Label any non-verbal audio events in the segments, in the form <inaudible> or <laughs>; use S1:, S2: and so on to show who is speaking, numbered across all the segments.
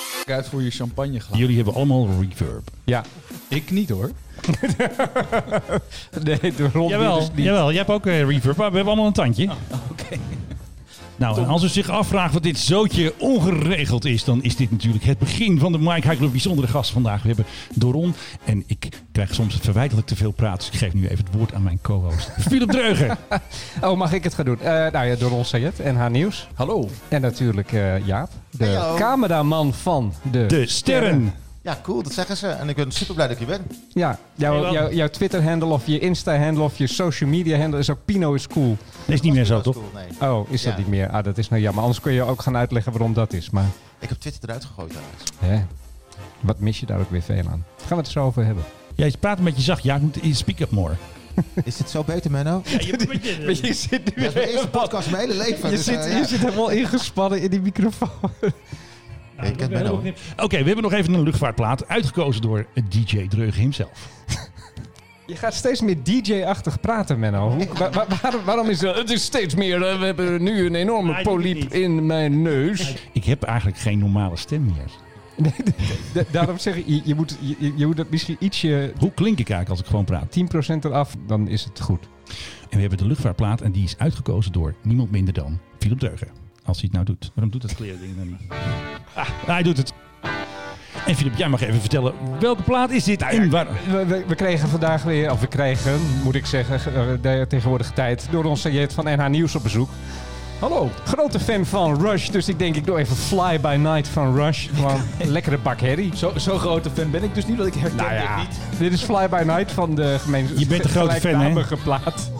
S1: eigenlijk uit voor je champagneglas.
S2: Jullie hebben allemaal reverb.
S1: Ja, ik niet hoor.
S3: Nee, de rond
S2: Jawel, jawel, jij hebt ook eh, reverb, maar we hebben allemaal een tandje.
S3: Oké.
S2: <laughs> Nou, en als u zich afvraagt wat dit zootje ongeregeld is, dan is dit natuurlijk het begin van de Mike High Club. Bijzondere gast vandaag. We hebben Doron en ik krijg soms verwijtelijk te veel praat. Dus ik geef nu even het woord aan mijn <laughs> co-host. Philip Dreugen.
S3: Oh, mag ik het gaan doen? Eh, nou ja, door ons het en haar nieuws.
S1: Hallo.
S3: En natuurlijk eh, Jaap, de
S4: Hallo.
S3: cameraman van de...
S2: De sterren.
S4: Ja, cool, dat zeggen ze. En ik ben super blij dat ik hier ben.
S3: Ja, jouw,
S2: Jawel.
S3: jouw, jouw Twitter-handle of je Insta-handle of je social media-handle is ook Pino is cool.
S2: Dat is niet meer zo, toch?
S4: Cool, nee.
S3: Oh, is dat
S4: Ja.
S3: niet meer? Ah, dat is nou jammer. Anders kun je ook gaan uitleggen waarom dat is. Maar
S4: Ik heb Twitter eruit gegooid trouwens.
S3: hè, wat mis je daar ook weer veel aan? Gaan we het zo over hebben.
S2: Jij praat een beetje zacht. Ja, ik moet eh, speak up more.
S4: Is dit zo beter, Menno?
S2: Ja, je beetje...
S3: <laughs> je zit
S4: Dat is
S2: <laughs>
S4: mijn eerste podcast in mijn hele leven.
S3: Je
S4: dus,
S3: zit,
S4: eh, ja.
S3: je zit helemaal ingespannen in die microfoon.
S4: Ik ken Menno. hoor.
S2: Oké, we hebben nog even een luchtvaartplaat uitgekozen door DJ Dreugen himself.
S3: Je gaat steeds meer DJ-achtig praten, Menno. Hoe- wa- wa- waar- waarom is dat? Het is steeds meer. eh, we hebben nu een enorme
S2: Hij doet het
S3: poliep
S2: niet.
S3: in mijn neus.
S2: Ik heb eigenlijk geen normale stem meer.
S3: Nee, d- d- daarom zeg ik, je, je moet, je, je moet dat misschien ietsje
S2: Hoe klink ik eigenlijk als ik gewoon praat?
S3: 10% eraf, dan is het goed.
S2: En we hebben de luchtvaartplaat en die is uitgekozen door niemand minder dan Philip Deugen. Als hij het nou doet. Waarom doet dat kleren ding dan niet? Ah, hij doet het. En Philip, jij mag even vertellen, welke plaat is
S4: Ah,
S2: dit en waar...
S3: We, we, we kregen vandaag weer, of we kregen, moet ik zeggen, ge- eh, de tegenwoordige tijd, door onze jet van NH Nieuws op bezoek. Hallo. Grote fan van Rush, dus ik denk ik doe even Fly By Night van Rush. Gewoon
S2: <laughs>
S3: een lekkere bak herrie.
S1: Zo, zo grote fan ben ik dus niet dat ik herken
S3: Nou ja.
S1: dit niet.
S3: Dit is Fly By Night van de gemeente.
S2: Je bent een grote fan, hè?
S3: gelijknamige plaat.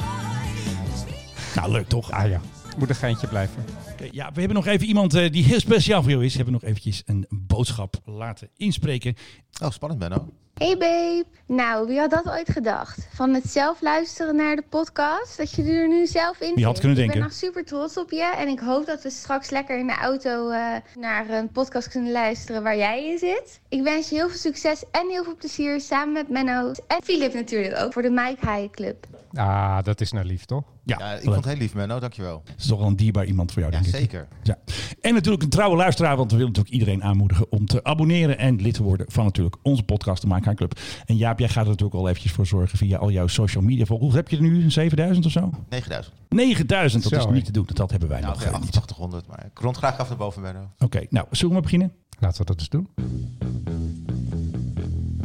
S2: Nou, leuk toch? Ah ja.
S3: Moet een geintje blijven.
S2: ja, we hebben nog even iemand eh, die heel speciaal voor jou is. We hebben nog eventjes een boodschap laten inspreken.
S4: Oh, spannend, Menno.
S5: Hey babe! Nou, wie had dat ooit gedacht? Van het zelf luisteren naar de podcast, dat je er nu zelf in
S2: Wie had
S5: zit.
S2: kunnen
S5: Ik ben
S2: denken?
S5: nog super trots op je en ik hoop dat we straks lekker in de auto eh, naar een podcast kunnen luisteren waar jij in zit. Ik wens je heel veel succes en heel veel plezier samen met Menno en Filip natuurlijk ook voor de Mike High Club.
S3: Ah, dat is nou lief, toch?
S2: Ja,
S4: Ja, ik
S2: leuk.
S4: vond het heel lief, Menno. Dankjewel.
S2: Dat is toch wel een dierbaar iemand voor jou,
S4: Ja,
S2: denk ik.
S4: zeker.
S2: Ja. En natuurlijk een trouwe luisteraar, want we willen natuurlijk iedereen aanmoedigen om te abonneren en lid te worden van natuurlijk onze podcast, de Maak Haar Club. En Jaap, jij gaat er natuurlijk al eventjes voor zorgen via al jouw social media. Hoeveel heb je er nu? 7000 of zo?
S4: 9000.
S2: 9000, dat
S3: Zo,
S2: is
S3: hè.
S2: niet te doen, want dat hebben wij
S4: Nou,
S2: nog
S4: ja,
S2: eh, niet.
S4: 8800, maar ik rond graag af naar boven, Menno.
S2: Oké, nou, zullen we maar beginnen?
S3: Laten we dat eens doen.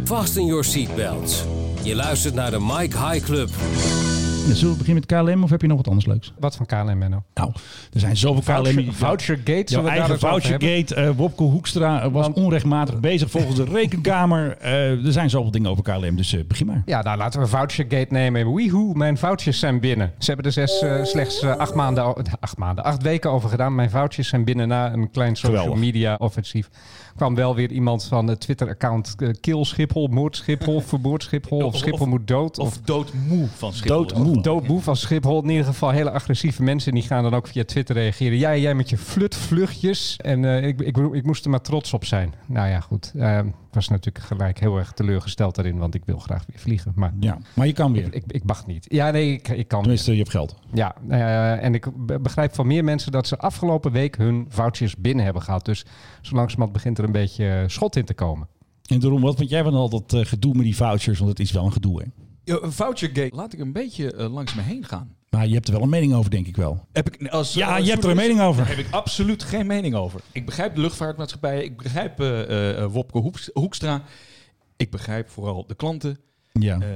S6: Fasten your seatbelts. Je luistert naar de Mike High Club.
S2: Dan Zullen we beginnen met KLM of heb je nog wat anders leuks?
S3: Wat van KLM, Menno?
S2: Nou, er zijn zoveel KLM...
S3: Voucher, Vouchergate,
S2: Jouw
S3: zullen we daar
S2: eigen
S3: eens over hebben?
S2: vouchergate, eh Wopke Hoekstra eh, was onrechtmatig bezig <laughs> volgens de rekenkamer. Eh, er zijn zoveel dingen over KLM, dus eh, begin maar.
S3: Ja, nou laten we Vouchergate nemen. Weehoe, mijn vouchers zijn binnen. Ze hebben er zes, eh, slechts eh, acht, maanden, o- <laughs> acht maanden, acht weken over gedaan. Mijn vouchers zijn binnen na een klein social
S2: Geweldig.
S3: media offensief. Kwam wel weer iemand van het Twitter-account eh, Kill Schiphol, Moord <laughs> Schiphol, Verboord Schiphol of
S1: Of-
S3: Schiphol
S1: of-
S3: moet dood. Of,
S1: Of doodmoe van Schiphol.
S2: Doodmoe.
S3: doodboe van Schiphol. In ieder geval hele agressieve mensen. Die gaan dan ook via Twitter reageren. Jij, jij met je flutvluchtjes. En eh, ik, ik, ik moest er maar trots op zijn. Nou ja, goed. Eh, Ik was natuurlijk gelijk heel erg teleurgesteld daarin. Want ik wil graag weer vliegen. Maar
S2: Ja, maar je kan weer.
S3: ik, ik mag niet. Ja, nee, ik, ik kan.
S2: Tenminste, je hebt geld.
S3: Ja, eh, en ik be- begrijp van meer mensen dat ze afgelopen week hun vouchers binnen hebben gehad. Dus zo langzamerhand begint er een beetje eh, schot in te komen.
S2: En daarom, wat vind jij van al dat eh, gedoe met die vouchers? Want het is wel een gedoe, hè?
S1: Ja, een Vouchergate. Laat ik een beetje eh, langs me heen gaan.
S2: Maar je hebt er wel een mening over, denk ik wel.
S1: Heb ik, als,
S2: Ja,
S1: als
S2: je hebt er een
S1: journalist
S2: mening over.
S1: Heb ik absoluut geen mening over. Ik begrijp de luchtvaartmaatschappij. Ik begrijp eh eh, eh, Wopke Hoeks- Hoekstra. Ik begrijp vooral de klanten.
S2: Ja.
S1: eh,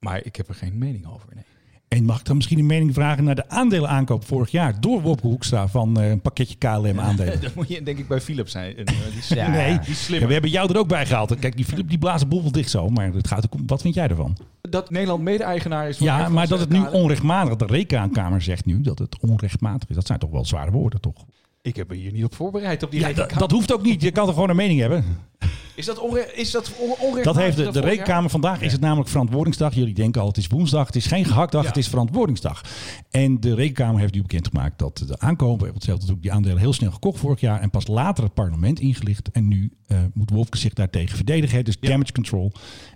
S1: maar ik heb er geen mening over. Nee. <laughs>
S2: En mag ik dan misschien een mening vragen naar de aandelenaankoop vorig jaar door Wopke Hoekstra van eh, een pakketje KLM <laughs> aandelen?
S1: Dan moet je denk ik bij Philips zijn. En, eh, die is-
S2: <laughs>
S3: Ja.
S2: Nee,
S1: Die is
S2: Ja,
S1: slimmer.
S2: we hebben jou er ook bij gehaald. Kijk, die Philip die blaast de boel wel dicht zo, maar het gaat ook om, wat vind jij ervan?
S1: Dat Nederland mede-eigenaar is van
S2: Ja,
S1: Air
S2: maar
S1: France,
S2: dat het
S1: eh,
S2: nu
S1: KLM.
S2: onrechtmatig, de rekenkamer zegt nu dat het onrechtmatig is. Dat zijn toch wel zware woorden, toch?
S1: Ik heb me hier niet op voorbereid op die
S2: Ja, dat,
S1: rekenkamer.
S2: dat hoeft ook niet. Je kan toch gewoon een mening hebben?
S1: Is dat, onre is dat on- onrechtmatig?
S2: Dat heeft de,
S1: dat
S2: de
S1: vorig jaar?
S2: rekenkamer vandaag. Is het namelijk verantwoordingsdag? Jullie denken al, het is woensdag. Het is geen gehaktdag,
S1: Ja.
S2: het is verantwoordingsdag. En de rekenkamer heeft nu bekendgemaakt dat de aankopen, want ze hadden ook die aandelen heel snel gekocht vorig jaar en pas later het parlement ingelicht. En nu eh, moet Wolfke zich daartegen verdedigen. hè. Dus damage control.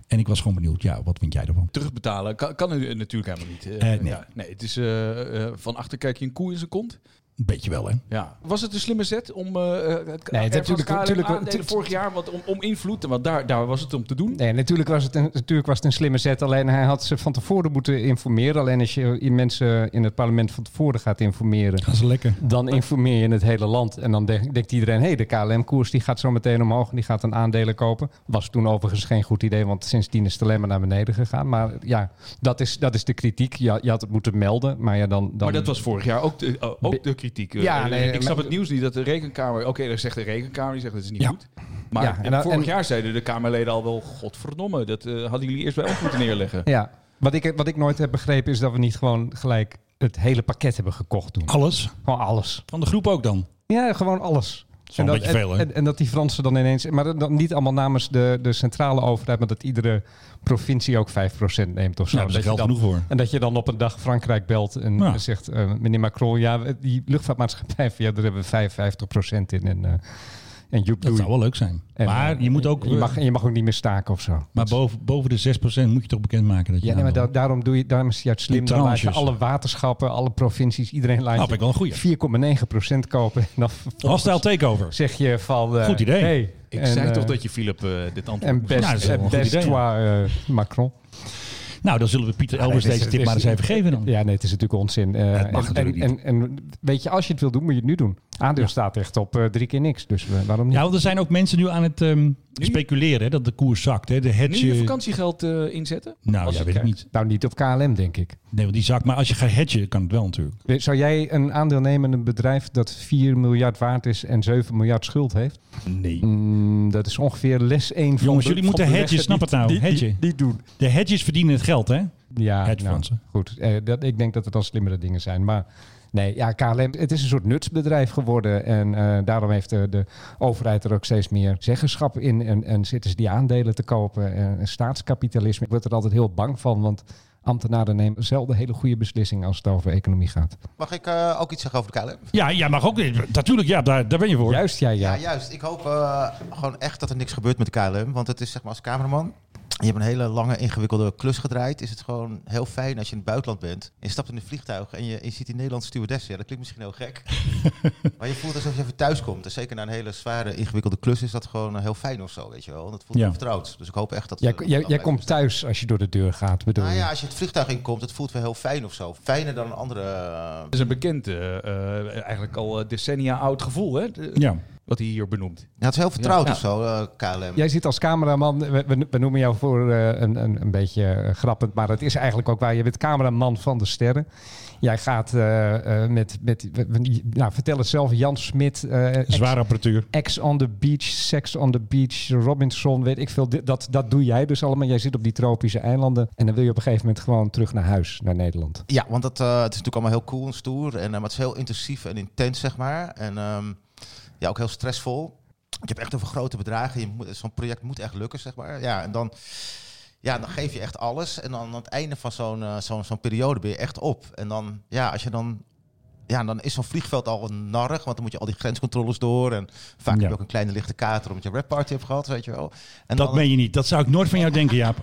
S2: En ik was gewoon benieuwd, ja, wat vind jij ervan?
S1: Terugbetalen kan, kan het natuurlijk helemaal niet. Eh,
S2: Eh, nee.
S1: ja, nee, het is eh, eh, van achter kijk je een koe in zijn kont.
S2: Een beetje wel, hè?
S1: Ja. Was het een slimme zet om eh eh, het
S3: Nee, het heeft
S1: natuurlijk,
S3: natuurlijk- natuurlijk- natuurlijk-
S1: vorig jaar want om, om invloed, want daar, daar was het om te doen.
S3: Nee, natuurlijk was, het een, natuurlijk was het een slimme zet. Alleen hij had ze van tevoren moeten informeren. Alleen als je i- mensen in het parlement van tevoren gaat informeren...
S2: Gaan ze lekker.
S3: dan informeer je het hele land. En dan denk- denkt iedereen... hé, hey, de KLM-koers die gaat zo meteen omhoog... en die gaat een aandelen kopen. Was toen overigens geen goed idee... want sindsdien is het alleen maar naar beneden gegaan. Maar ja, dat is, dat is de kritiek. Je, je had het moeten melden, maar ja, dan... dan
S1: Maar dat was vorig jaar ook de, eh,
S3: Be-
S1: ook de kritiek.
S3: Ja,
S1: Eh,
S3: nee,
S1: ik snap
S3: maar-
S1: het nieuws niet dat de rekenkamer. Oké, daar zegt de rekenkamer die zegt dat is niet
S2: Ja.
S1: goed. Maar
S3: Ja, en dan-
S1: vorig
S3: en-
S1: jaar zeiden de kamerleden al wel, godverdomme, dat eh, hadden jullie eerst bij ons moeten neerleggen.
S3: Ja, wat ik, wat ik nooit heb begrepen is dat we niet gewoon gelijk het hele pakket hebben gekocht toen.
S2: Alles.
S3: Gewoon alles.
S2: Van de groep ook dan.
S3: Ja, gewoon alles.
S2: is wel
S3: en
S2: een
S3: dat,
S2: beetje veel,
S3: en,
S2: hè?
S3: en- en dat die Fransen dan ineens... Maar dan- dan niet allemaal namens de, de centrale overheid... maar dat iedere provincie ook 5% neemt of zo.
S2: Nou, daar
S3: dat
S2: is geld
S3: je dan,
S2: genoeg voor.
S3: en dat je dan op een dag Frankrijk belt en
S2: Ja.
S3: zegt... eh, meneer Macron, ja, die luchtvaartmaatschappij... van, ja, daar hebben we 55% in. En, eh en
S2: Dat
S3: joep doei.
S2: zou wel leuk zijn.
S3: En,
S2: maar
S3: eh,
S2: je moet ook...
S3: Je mag, je mag ook niet meer staken of zo.
S2: maar boven, boven de 6% moet je toch bekendmaken dat je...
S3: Ja, nee, maar da-
S2: aandeel-
S3: daarom, doe je, daarom is het juist slim.
S2: Die
S3: Dan laat je
S2: tranches.
S3: alle waterschappen, alle provincies, iedereen
S2: Nou,
S3: laat
S2: vind ik
S3: je
S2: wel een goeie.
S3: 4,9% kopen. En dan <laughs> vervolgens
S2: Hostile takeover.
S3: zeg je van... eh,
S2: Goed idee.
S3: hey,
S1: Ik
S3: <laughs> en,
S1: zei
S3: eh,
S1: toch dat je Philip eh, dit antwoord
S3: En
S1: moest
S3: best,
S2: Nou, dat is wel
S3: en
S2: een goed
S3: best
S2: idee,
S3: toi, eh, Macron.
S2: Nou, dan zullen we Pieter Elbers
S3: dit is-
S2: deze
S3: dit
S2: tip
S3: is-
S2: maar eens even geven dan.
S3: Ja, nee, het is natuurlijk onzin. Eh,
S2: het mag
S3: en,
S2: natuurlijk
S3: en, en, en weet je, als je het wil doen, moet je het nu doen. Aandeel staat echt op eh, drie keer niks. Dus eh, waarom niet?
S2: Ja, want er zijn ook mensen nu aan het ehm, speculeren hè, dat de koers zakt. Hè. De
S1: Nu je
S2: hedge.
S1: vakantiegeld eh, inzetten?
S2: Nou,
S1: Als
S2: ja,
S1: je
S2: weet ik
S1: krijgt.
S2: niet.
S3: Nou, niet op KLM, denk ik.
S2: Nee, want die zakt. Maar als je gaat hedgen, kan het wel natuurlijk.
S3: Zou jij een aandeel nemen in een bedrijf dat 4 miljard waard is en 7 miljard schuld heeft?
S2: Nee.
S3: Mm, dat is ongeveer les 1 van
S2: Jongens,
S3: de-
S2: jullie
S3: van
S2: moeten
S3: de
S2: hedgen,
S3: les-
S2: snap het nou,
S3: Niet, niet-
S2: hedgen.
S3: niet doen.
S2: De hedges verdienen het geld, hè?
S3: Ja,
S2: Hedge
S3: nou,
S2: funds, hè?
S3: goed. Eh, dat, ik denk dat het dan slimmere dingen zijn. Maar nee, ja, KLM, het is een soort nutsbedrijf geworden. En eh, daarom heeft de, de overheid er ook steeds meer zeggenschap in. En, en zitten ze die aandelen te kopen. En, en staatskapitalisme. Ik word er altijd heel bang van, want ambtenaren nemen zelden hele goede beslissingen als het over economie gaat.
S4: Mag ik eh, ook iets zeggen over de KLM?
S2: Ja, jij mag ook. eh, Natuurlijk, ja, daar, daar ben je voor.
S3: Juist jij, ja.
S4: Ja, juist. Ik hoop eh, gewoon echt dat er niks gebeurt met de KLM. Want het is zeg maar als cameraman. Je hebt een hele lange ingewikkelde klus gedraaid. Is het gewoon heel fijn als je in het buitenland bent. En je stapt in een vliegtuig en je, je ziet die Nederlandse stewardessen. Ja, dat klinkt misschien heel gek. maar je voelt alsof je even thuis komt. En zeker na een hele zware ingewikkelde klus is dat gewoon eh, heel fijn of zo. Weet je wel. En dat voelt
S2: Ja.
S4: heel vertrouwd. Dus ik hoop echt dat...
S3: Jij,
S4: eh,
S3: jij,
S4: dat
S3: jij
S4: blijft.
S3: komt thuis als je door de deur gaat, bedoel
S4: Nou
S3: je?
S4: ja, als je het vliegtuig inkomt, het voelt wel heel fijn of zo. Fijner dan een andere... eh,
S1: Dat is een bekend, eh, eh, eigenlijk al eh, decennia oud gevoel, hè? De-
S2: Ja.
S1: Wat hij hier benoemt.
S4: ja, het is heel vertrouwd
S1: Ja.
S4: of zo, eh, KLM.
S3: Jij zit als cameraman, we, we- we noemen jou voor eh, een, een, een beetje eh, grappend, maar dat is eigenlijk ook waar. Je bent cameraman van de sterren. Jij gaat eh, eh, met, met w- w- nou, vertel het zelf, Jan Smit, eh, ex-
S2: Zware apparatuur.
S3: Ex on the Beach, Sex on the Beach, Robinson, weet ik veel. Dit- Dat, dat doe jij dus allemaal. Jij zit op die tropische eilanden en dan wil je op een gegeven moment gewoon terug naar huis, naar Nederland.
S4: Ja, want dat, eh, het is natuurlijk allemaal heel cool en stoer. En, eh, maar het is heel intensief en intens, zeg maar. En ehm, ja, ook heel stressvol. Ik heb echt over grote bedragen. Je moet- Zo'n project moet echt lukken, zeg maar. Ja, en dan, ja, dan geef je echt alles. En dan aan het einde van zo'n eh, zo'n zo'n periode ben je echt op. En dan, ja, als je dan... Ja, dan is zo'n vliegveld al narrig, want dan moet je al die grenscontroles door. En vaak
S2: Ja.
S4: heb je ook een kleine lichte kater omdat je een party hebt gehad, weet je wel. En
S2: Dat
S4: dan,
S2: meen je niet. Dat zou ik nooit van jou denken, Jaap.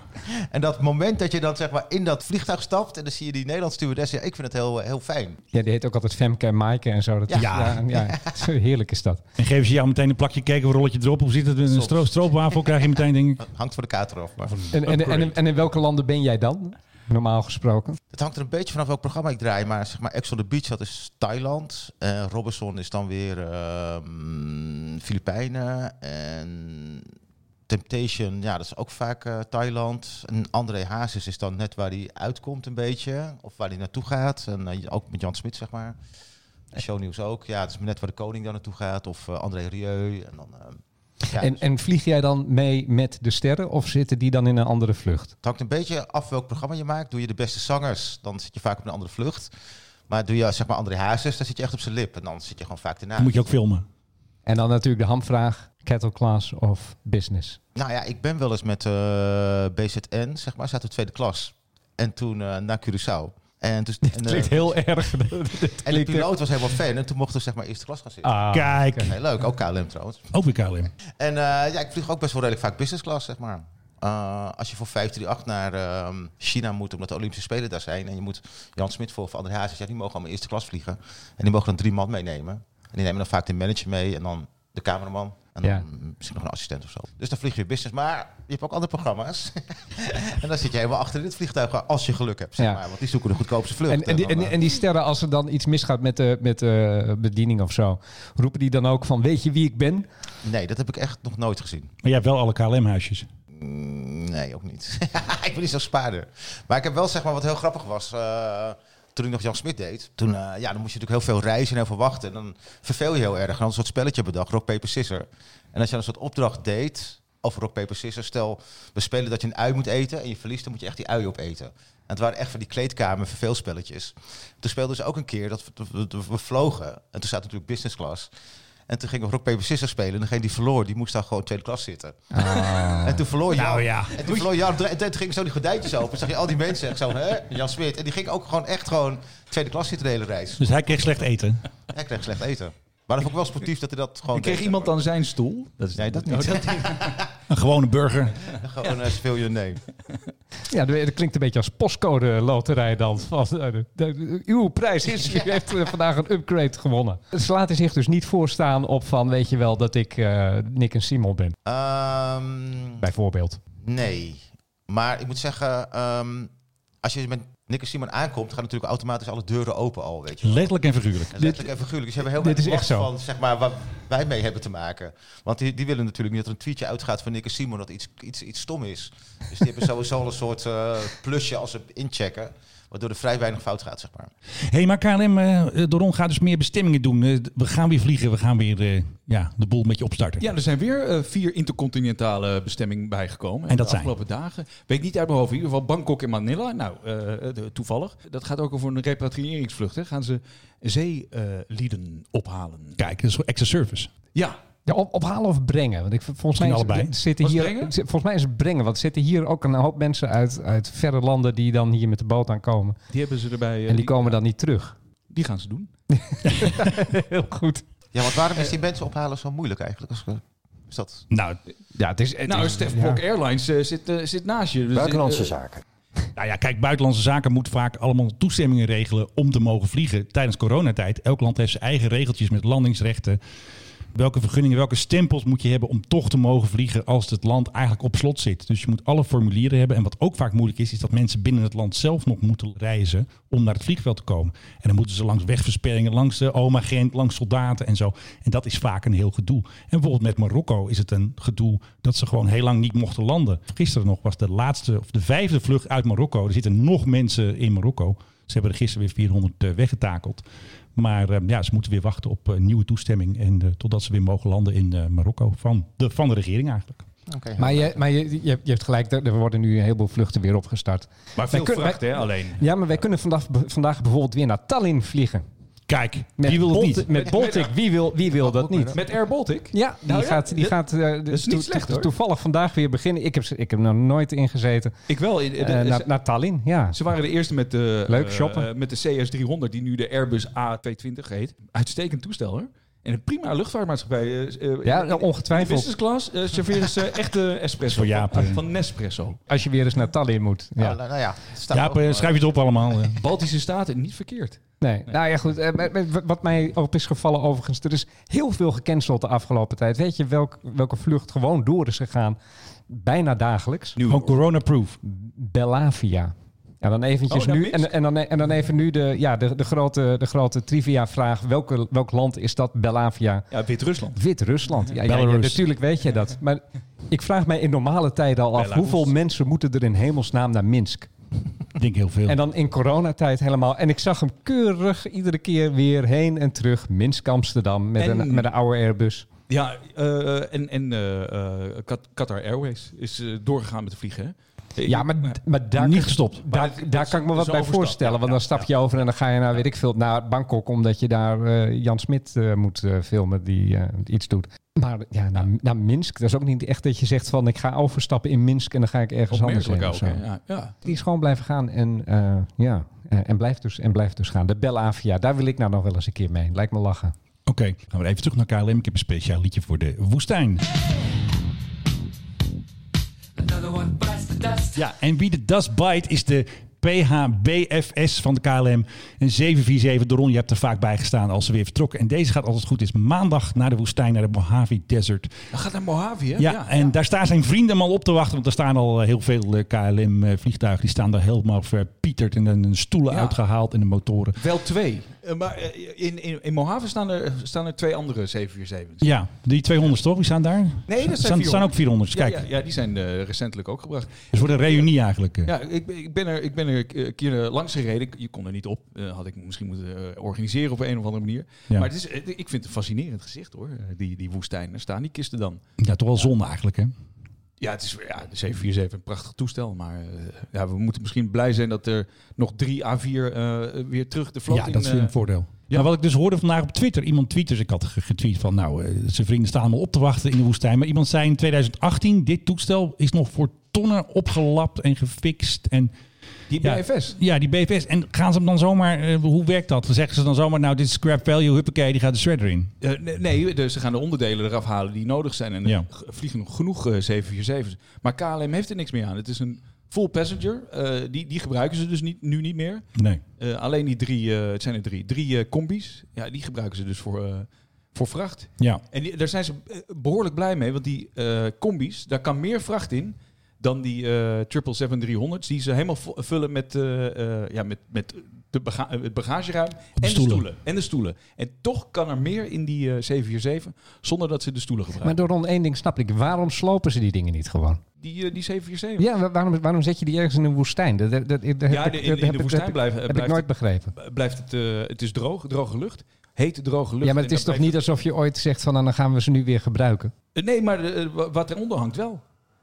S4: en dat moment dat je dan zeg maar in dat vliegtuig stapt en dan zie je die Nederlandse stewardess. Ja, ik vind het heel, eh, heel fijn.
S3: Ja, die heet ook altijd Femke en Maaike en zo. Dat is-
S2: Ja.
S3: ja, <laughs> ja. heerlijk is dat.
S2: En geven ze jou meteen een plakje cake of een rolletje erop. Hoe zit het? Een
S4: Soms.
S2: stro stroopwafel krijg je meteen, denk ik.
S4: Hangt van de kater af. Maar
S3: En, en, en, en in welke landen ben jij dan, normaal gesproken?
S4: het hangt er een beetje vanaf welk programma ik draai. Maar zeg maar, Ex on the Beach, dat is Thailand. En Robinson is dan weer ehm, Filipijnen. En Temptation, ja, dat is ook vaak eh, Thailand. En André Hazes is dan net waar hij uitkomt een beetje. Of waar hij naartoe gaat. En eh, ook met Jan Smit, zeg maar. En shownieuws ook. Ja, het is net waar de koning dan naartoe gaat. Of eh, André Rieu. En dan... ehm, ja,
S3: En, en vlieg jij dan mee met de sterren of zitten die dan in een andere vlucht?
S4: Het hangt een beetje af welk programma je maakt. Doe je de beste zangers, dan zit je vaak op een andere vlucht. Maar doe je zeg maar André Hazes, dan zit je echt op zijn lip. En dan zit je gewoon vaak
S2: Dan
S4: ernaast.
S2: moet je ook filmen.
S3: En dan natuurlijk de hamvraag, kettle class of business.
S4: Nou ja, ik ben wel eens met eh, BZN, zeg maar, zaten we tweede klas. En toen eh, naar Curaçao. En, dus, en, eh,
S3: heel erg.
S4: <laughs> en de piloot was helemaal fan. En toen mochten we zeg maar eerste klas gaan zitten.
S3: Ah,
S2: Kijk.
S4: Heel leuk, ook KLM trouwens.
S2: Ook weer KLM.
S4: En eh, ja, ik vlieg ook best wel redelijk vaak business class, zeg maar. eh, als je voor 538 naar ehm, China moet, omdat de Olympische Spelen daar zijn. En je moet Jan Smit voor of André Hazes, ja, die mogen allemaal eerste klas vliegen. En die mogen dan drie man meenemen. En die nemen dan vaak de manager mee en dan de cameraman. En dan
S3: Ja.
S4: misschien nog een assistent of zo. Dus dan vlieg je business. Maar je hebt ook andere programma's. <laughs> en dan zit je helemaal achter in het vliegtuig als je geluk hebt. Zeg
S3: Ja.
S4: maar. Want die zoeken de goedkoopste vlucht.
S3: En, en, die,
S4: dan,
S3: en,
S4: eh,
S3: en die sterren, als er dan iets misgaat met de met, de bediening of zo, roepen die dan ook van: Weet je wie ik ben?
S4: Nee, dat heb ik echt nog nooit gezien.
S2: jij hebt wel alle KLM-huisjes.
S4: Mm, Nee, ook niet. <laughs> ik ben niet zo'n spaarder. Maar ik heb wel, zeg maar, wat heel grappig was. eh, toen ik nog Jan Smit deed. Toen, eh, ja, dan moest je natuurlijk heel veel reizen en heel veel wachten. En dan verveel je heel erg. En dan een soort spelletje bedacht, rock, paper, scissor. En als je dan een soort opdracht deed over rock, paper, scissor. Stel, we spelen dat je een ui moet eten en je verliest, dan moet je echt die ui opeten. En het waren echt van die kleedkamer verveelspelletjes. Toen speelden ze ook een keer dat we, we- we- we vlogen. En toen zaten natuurlijk business class. En toen gingen we rock, paper, scissor spelen. En degene die verloor, die moest dan gewoon tweede klas zitten. En toen verloor Jan.
S2: Nou ja.
S4: En toen verloor Jan. En toen gingen zo die gordijntjes open. Zag je al die mensen echt zo, hè? Jan Smit. En die ging ook gewoon echt gewoon tweede klas zitten de hele reis.
S2: Dus hij kreeg slecht eten.
S4: Hij kreeg slecht eten. Maar dat vond ik wel sportief dat hij dat gewoon
S1: En kreeg
S4: deed.
S1: iemand aan zijn stoel? Dat is
S4: Nee, Oh, dat
S1: Oh,
S4: niet.
S2: Een gewone burger.
S4: <laughs> Gewoon eh, speel je nee.
S3: Ja, dat dat klinkt een beetje als postcode loterij dan. Van, eh, de- de- uw prijs
S4: <laughs>
S3: is, u heeft eh, vandaag een upgrade gewonnen. Ze laten zich dus niet voorstaan op van, weet je wel, dat ik eh, Nick en Simon ben,
S4: Ehm,
S3: bijvoorbeeld.
S4: nee. Maar ik moet zeggen, ehm, als je met Nick en Simon aankomt, gaan natuurlijk automatisch alle deuren open al, weet je.
S2: Letterlijk en figuurlijk.
S4: En Letterlijk en figuurlijk. Dus ze hebben heel
S3: dit
S4: erg
S3: is echt
S4: last
S3: zo.
S4: van zeg maar, waar wij mee hebben te maken. Want die, die willen natuurlijk niet dat er een tweetje uitgaat van Nick en Simon dat iets, iets, iets stom is. Dus die hebben sowieso al een soort eh, plusje als ze inchecken. Waardoor er vrij weinig fout gaat, zeg maar.
S2: hey, maar KLM eh, eh, Doron gaat dus meer bestemmingen doen. Eh, we gaan weer vliegen, we gaan weer eh, ja, de boel met je opstarten.
S1: Ja, er zijn weer eh, vier intercontinentale bestemmingen bijgekomen.
S2: En dat
S1: de
S2: zijn?
S1: afgelopen dagen. Weet niet uit mijn hoofd. In ieder geval Bangkok en Manila. Nou, eh, de- toevallig. Dat gaat ook over een repatriëringsvlucht. Hè. Gaan ze zeelieden ophalen.
S2: Kijk, dat is extra service.
S1: Ja,
S3: Ja, op, ophalen of brengen? Want ik, volgens, mij
S2: Misschien
S3: is,
S2: allebei.
S3: d- zitten
S1: Was het
S3: hier,
S1: brengen?
S3: z- volgens mij is het brengen, want er zitten hier ook een hoop mensen uit, uit verre landen die dan hier met de boot aankomen.
S1: die hebben ze erbij. eh,
S3: en die komen dan niet terug.
S1: Die gaan ze doen.
S3: Heel goed.
S4: Ja, want waarom is
S3: Eh,
S4: die mensen ophalen zo moeilijk eigenlijk? Als, we- is dat...
S2: Nou,
S3: Ja, het is, het
S1: nou,
S3: is-
S1: Stef
S3: ja.
S1: Blok Airlines eh, zit, eh, zit naast je. Dus,
S7: Buitenlandse
S1: eh,
S7: zaken.
S2: nou ja, kijk, buitenlandse zaken moet vaak allemaal toestemmingen regelen om te mogen vliegen tijdens coronatijd. Elk land heeft zijn eigen regeltjes met landingsrechten. Welke vergunningen, welke stempels moet je hebben om toch te mogen vliegen als het land eigenlijk op slot zit. Dus je moet alle formulieren hebben. En wat ook vaak moeilijk is, is dat mensen binnen het land zelf nog moeten reizen om naar het vliegveld te komen. En dan moeten ze langs wegversperringen, langs de oom-agent, langs soldaten en zo. En dat is vaak een heel gedoe. En bijvoorbeeld met Marokko is het een gedoe dat ze gewoon heel lang niet mochten landen. Gisteren nog was de laatste of de vijfde vlucht uit Marokko. Er zitten nog mensen in Marokko. Ze hebben er gisteren weer 400 eh, weggetakeld. Maar eh, ja, ze moeten weer wachten op eh, nieuwe toestemming. En eh, totdat ze weer mogen landen in eh, Marokko. Van de, van de regering eigenlijk.
S4: Oké.
S3: Maar, je, maar je, je, hebt- je hebt gelijk, er er worden nu een heleboel vluchten weer opgestart.
S1: Maar veel
S3: kunnen-
S1: vracht, hè, alleen.
S3: Ja, maar wij kunnen vandaag, vandaag bijvoorbeeld weer naar Tallinn vliegen.
S2: Kijk, wie wil het
S3: Bolt-
S2: niet?
S3: Met Baltic, wie wil, wie wil dat niet?
S1: Met Air Baltic?
S3: Ja, die
S1: Nou ja,
S3: gaat, die
S1: dat-
S3: gaat eh,
S1: is niet slecht, hoor.
S3: toevallig vandaag weer beginnen. Ik heb, ze- ik heb er nog nooit ingezeten.
S1: Ik wel. eh, de-
S3: gezeten.
S1: ze-
S3: naar, naar Tallinn, ja.
S1: Ze waren de eerste met de,
S3: Leuk
S1: eh,
S3: shoppen.
S1: eh, met de CS300, die nu de Airbus A220 heet. Uitstekend toestel, hoor. En een prima luchtvaartmaatschappij. eh, eh, in-
S3: Ja, nou,
S1: in de
S3: ongetwijfeld.
S1: business class eh, serveren ze
S3: <laughs>
S1: echte espresso.
S2: Voor Jaap,
S1: van,
S2: eh.
S1: van Nespresso.
S3: Als je weer eens naar Tallinn moet. Ja.
S4: Nou, nou ja, het staat
S2: Ja,
S4: ook
S2: eh,
S4: wel.
S2: schrijf je het op allemaal. eh.
S1: Baltische Staten, niet verkeerd.
S3: Nee. Nou ja, goed. eh, maar- maar Wat mij op is gevallen overigens, er is heel veel gecanceld de afgelopen tijd. Weet je welk, welke vlucht gewoon door is gegaan? Bijna dagelijks.
S2: Gewoon corona-proof.
S3: Bellavia. Ja, dan eventjes
S1: Oh, nou,
S3: nu.
S1: mist.
S3: En, en, dan, en dan even nu de, ja, de, de grote, de grote trivia-vraag. Welke, welk land is dat? Bellavia.
S1: Ja, Wit-Rusland.
S3: Wit-Rusland. Ja, ja, ja,
S2: Belarus.
S3: natuurlijk weet je dat. Maar ik vraag mij in normale tijden al af...
S1: Belarus.
S3: hoeveel mensen moeten er in hemelsnaam naar Minsk?
S2: Ik denk heel veel.
S3: En dan in coronatijd helemaal. En ik zag hem keurig iedere keer weer heen en terug. Minsk-Amsterdam met,
S1: En-
S3: een, met een oude Airbus.
S1: Ja, eh, en, en eh, eh, Kat- Qatar Airways is eh, doorgegaan met de vliegen. hè? Eh,
S3: Ja, maar, maar daar,
S2: Niet gestopt.
S3: daar,
S1: Maar het-
S3: daar
S1: het
S3: kan ik me
S1: is
S3: wat
S1: een
S3: bij
S1: overstap.
S3: voorstellen.
S1: Ja,
S3: Want dan stap je over en dan ga je naar, weet ik veel, naar Bangkok. Omdat je daar eh, Jan Smit eh, moet eh, filmen die eh, iets doet. Maar ja, naar, naar Minsk. Dat is ook niet echt dat je zegt van ik ga overstappen in Minsk en dan ga ik ergens anders heen.
S1: opmerkelijk ook.
S3: of zo.
S1: hè. Ja, ja.
S3: Die is gewoon blijven gaan en eh, ja. eh, en blijft, dus, en blijft dus gaan. De Bellavia, daar wil ik nou nog wel eens een keer mee. Lijkt me lachen.
S2: Oké, gaan we even terug naar KLM. Ik heb een speciaal liedje voor de woestijn.
S8: Another one,
S7: dust.
S2: Ja, en wie de dust bite is de PHBFS van de KLM. Een 747. Doron, je hebt er vaak bij gestaan als ze weer vertrokken. En deze gaat als het goed is maandag naar de woestijn, naar de Mojave Desert.
S1: Dat gaat naar Mojave, hè?
S2: Ja, en daar staan zijn vrienden hem al op te wachten. Want er staan al eh, heel veel KLM-vliegtuigen. eh, Die staan daar helemaal verpieterd. En dan hun stoelen
S1: Ja.
S2: uitgehaald en de motoren.
S1: Wel twee. Eh, maar eh, in, in, in Mojave staan er, staan er twee andere 747's.
S2: Ja, die 200 toch? Die staan daar?
S1: Nee, dat
S2: staan,
S1: zijn
S2: staan ook 400.
S1: Ja,
S2: Kijk,
S1: ja, ja, die zijn eh, recentelijk ook gebracht.
S2: dus wordt een reunie eigenlijk. eh.
S1: Ja, ik, ben- ik ben er, ik ben er een keer eh, langs gereden. Ik- Je kon er niet op. Eh, had ik misschien moeten eh, organiseren op een of andere manier.
S2: Ja.
S1: Maar het is, het- ik vind het een fascinerend gezicht hoor. Eh, Die, die woestijn. Daar staan die kisten dan.
S2: Ja, toch wel zonde eigenlijk, hè?
S1: Ja, het is ja, de 747 een prachtig toestel. Maar eh, ja, we moeten misschien blij zijn dat er nog drie A4 eh, weer terug de vlot
S2: Ja,
S1: in...
S2: dat is
S1: eh,
S2: een voordeel. Maar wat ik dus hoorde vandaag op Twitter, iemand tweet dus, ik had ge- getweet van nou, eh, zijn vrienden staan allemaal op te wachten in de woestijn. Maar iemand zei in 2018, dit toestel is nog voor tonnen opgelapt en gefixt. En
S1: die
S2: ja,
S1: BFS.
S2: Ja, die BFS. En gaan ze hem dan zomaar, eh, hoe werkt dat? Zeggen ze dan zomaar, nou dit is scrap value, huppakee, die gaat de shredder in.
S1: Eh, nee, nee, dus ze gaan de onderdelen eraf halen die nodig zijn. En er
S2: Ja.
S1: g- vliegen nog genoeg eh, 747's. Maar KLM heeft er niks meer aan. Het is een full passenger. Eh, die, die gebruiken ze dus niet, nu niet meer.
S2: Nee.
S1: Eh, alleen die drie, eh, het zijn er drie, drie eh, combi's. Ja, die gebruiken ze dus voor, eh, voor vracht.
S2: Ja.
S1: En die- daar zijn ze eh, behoorlijk blij mee, want die eh, combi's, daar kan meer vracht in dan die eh 777-300's, die ze helemaal vo- vullen met, eh, eh, ja, met, met de baga- eh, het bagageruim en
S2: stoelen.
S1: de stoelen. En de stoelen. En toch kan er meer in die eh, 747 zonder dat ze de stoelen
S3: Maar
S1: gebruiken.
S3: door Ron één ding snap ik. Waarom slopen ze die dingen niet gewoon?
S1: die, eh, die 747.
S3: Ja, wa- waarom, waarom zet je die ergens in een woestijn? Dat, dat, dat, dat-
S1: Ja,
S3: dat-
S1: de- in-
S3: dat
S1: in
S3: heb
S1: de
S3: ik-
S1: woestijn
S3: heb ik-
S1: blijven-
S3: Heb ik
S1: blijft
S3: nooit begrepen.
S1: B- Blijft het, eh, het is droog, droge lucht. Hete droge lucht.
S3: Ja, maar
S1: En
S3: het is
S1: dan
S3: toch niet alsof je ooit zegt van nou, dan gaan we ze nu weer gebruiken.
S1: Eh, Nee, maar eh, wa- wat eronder hangt wel.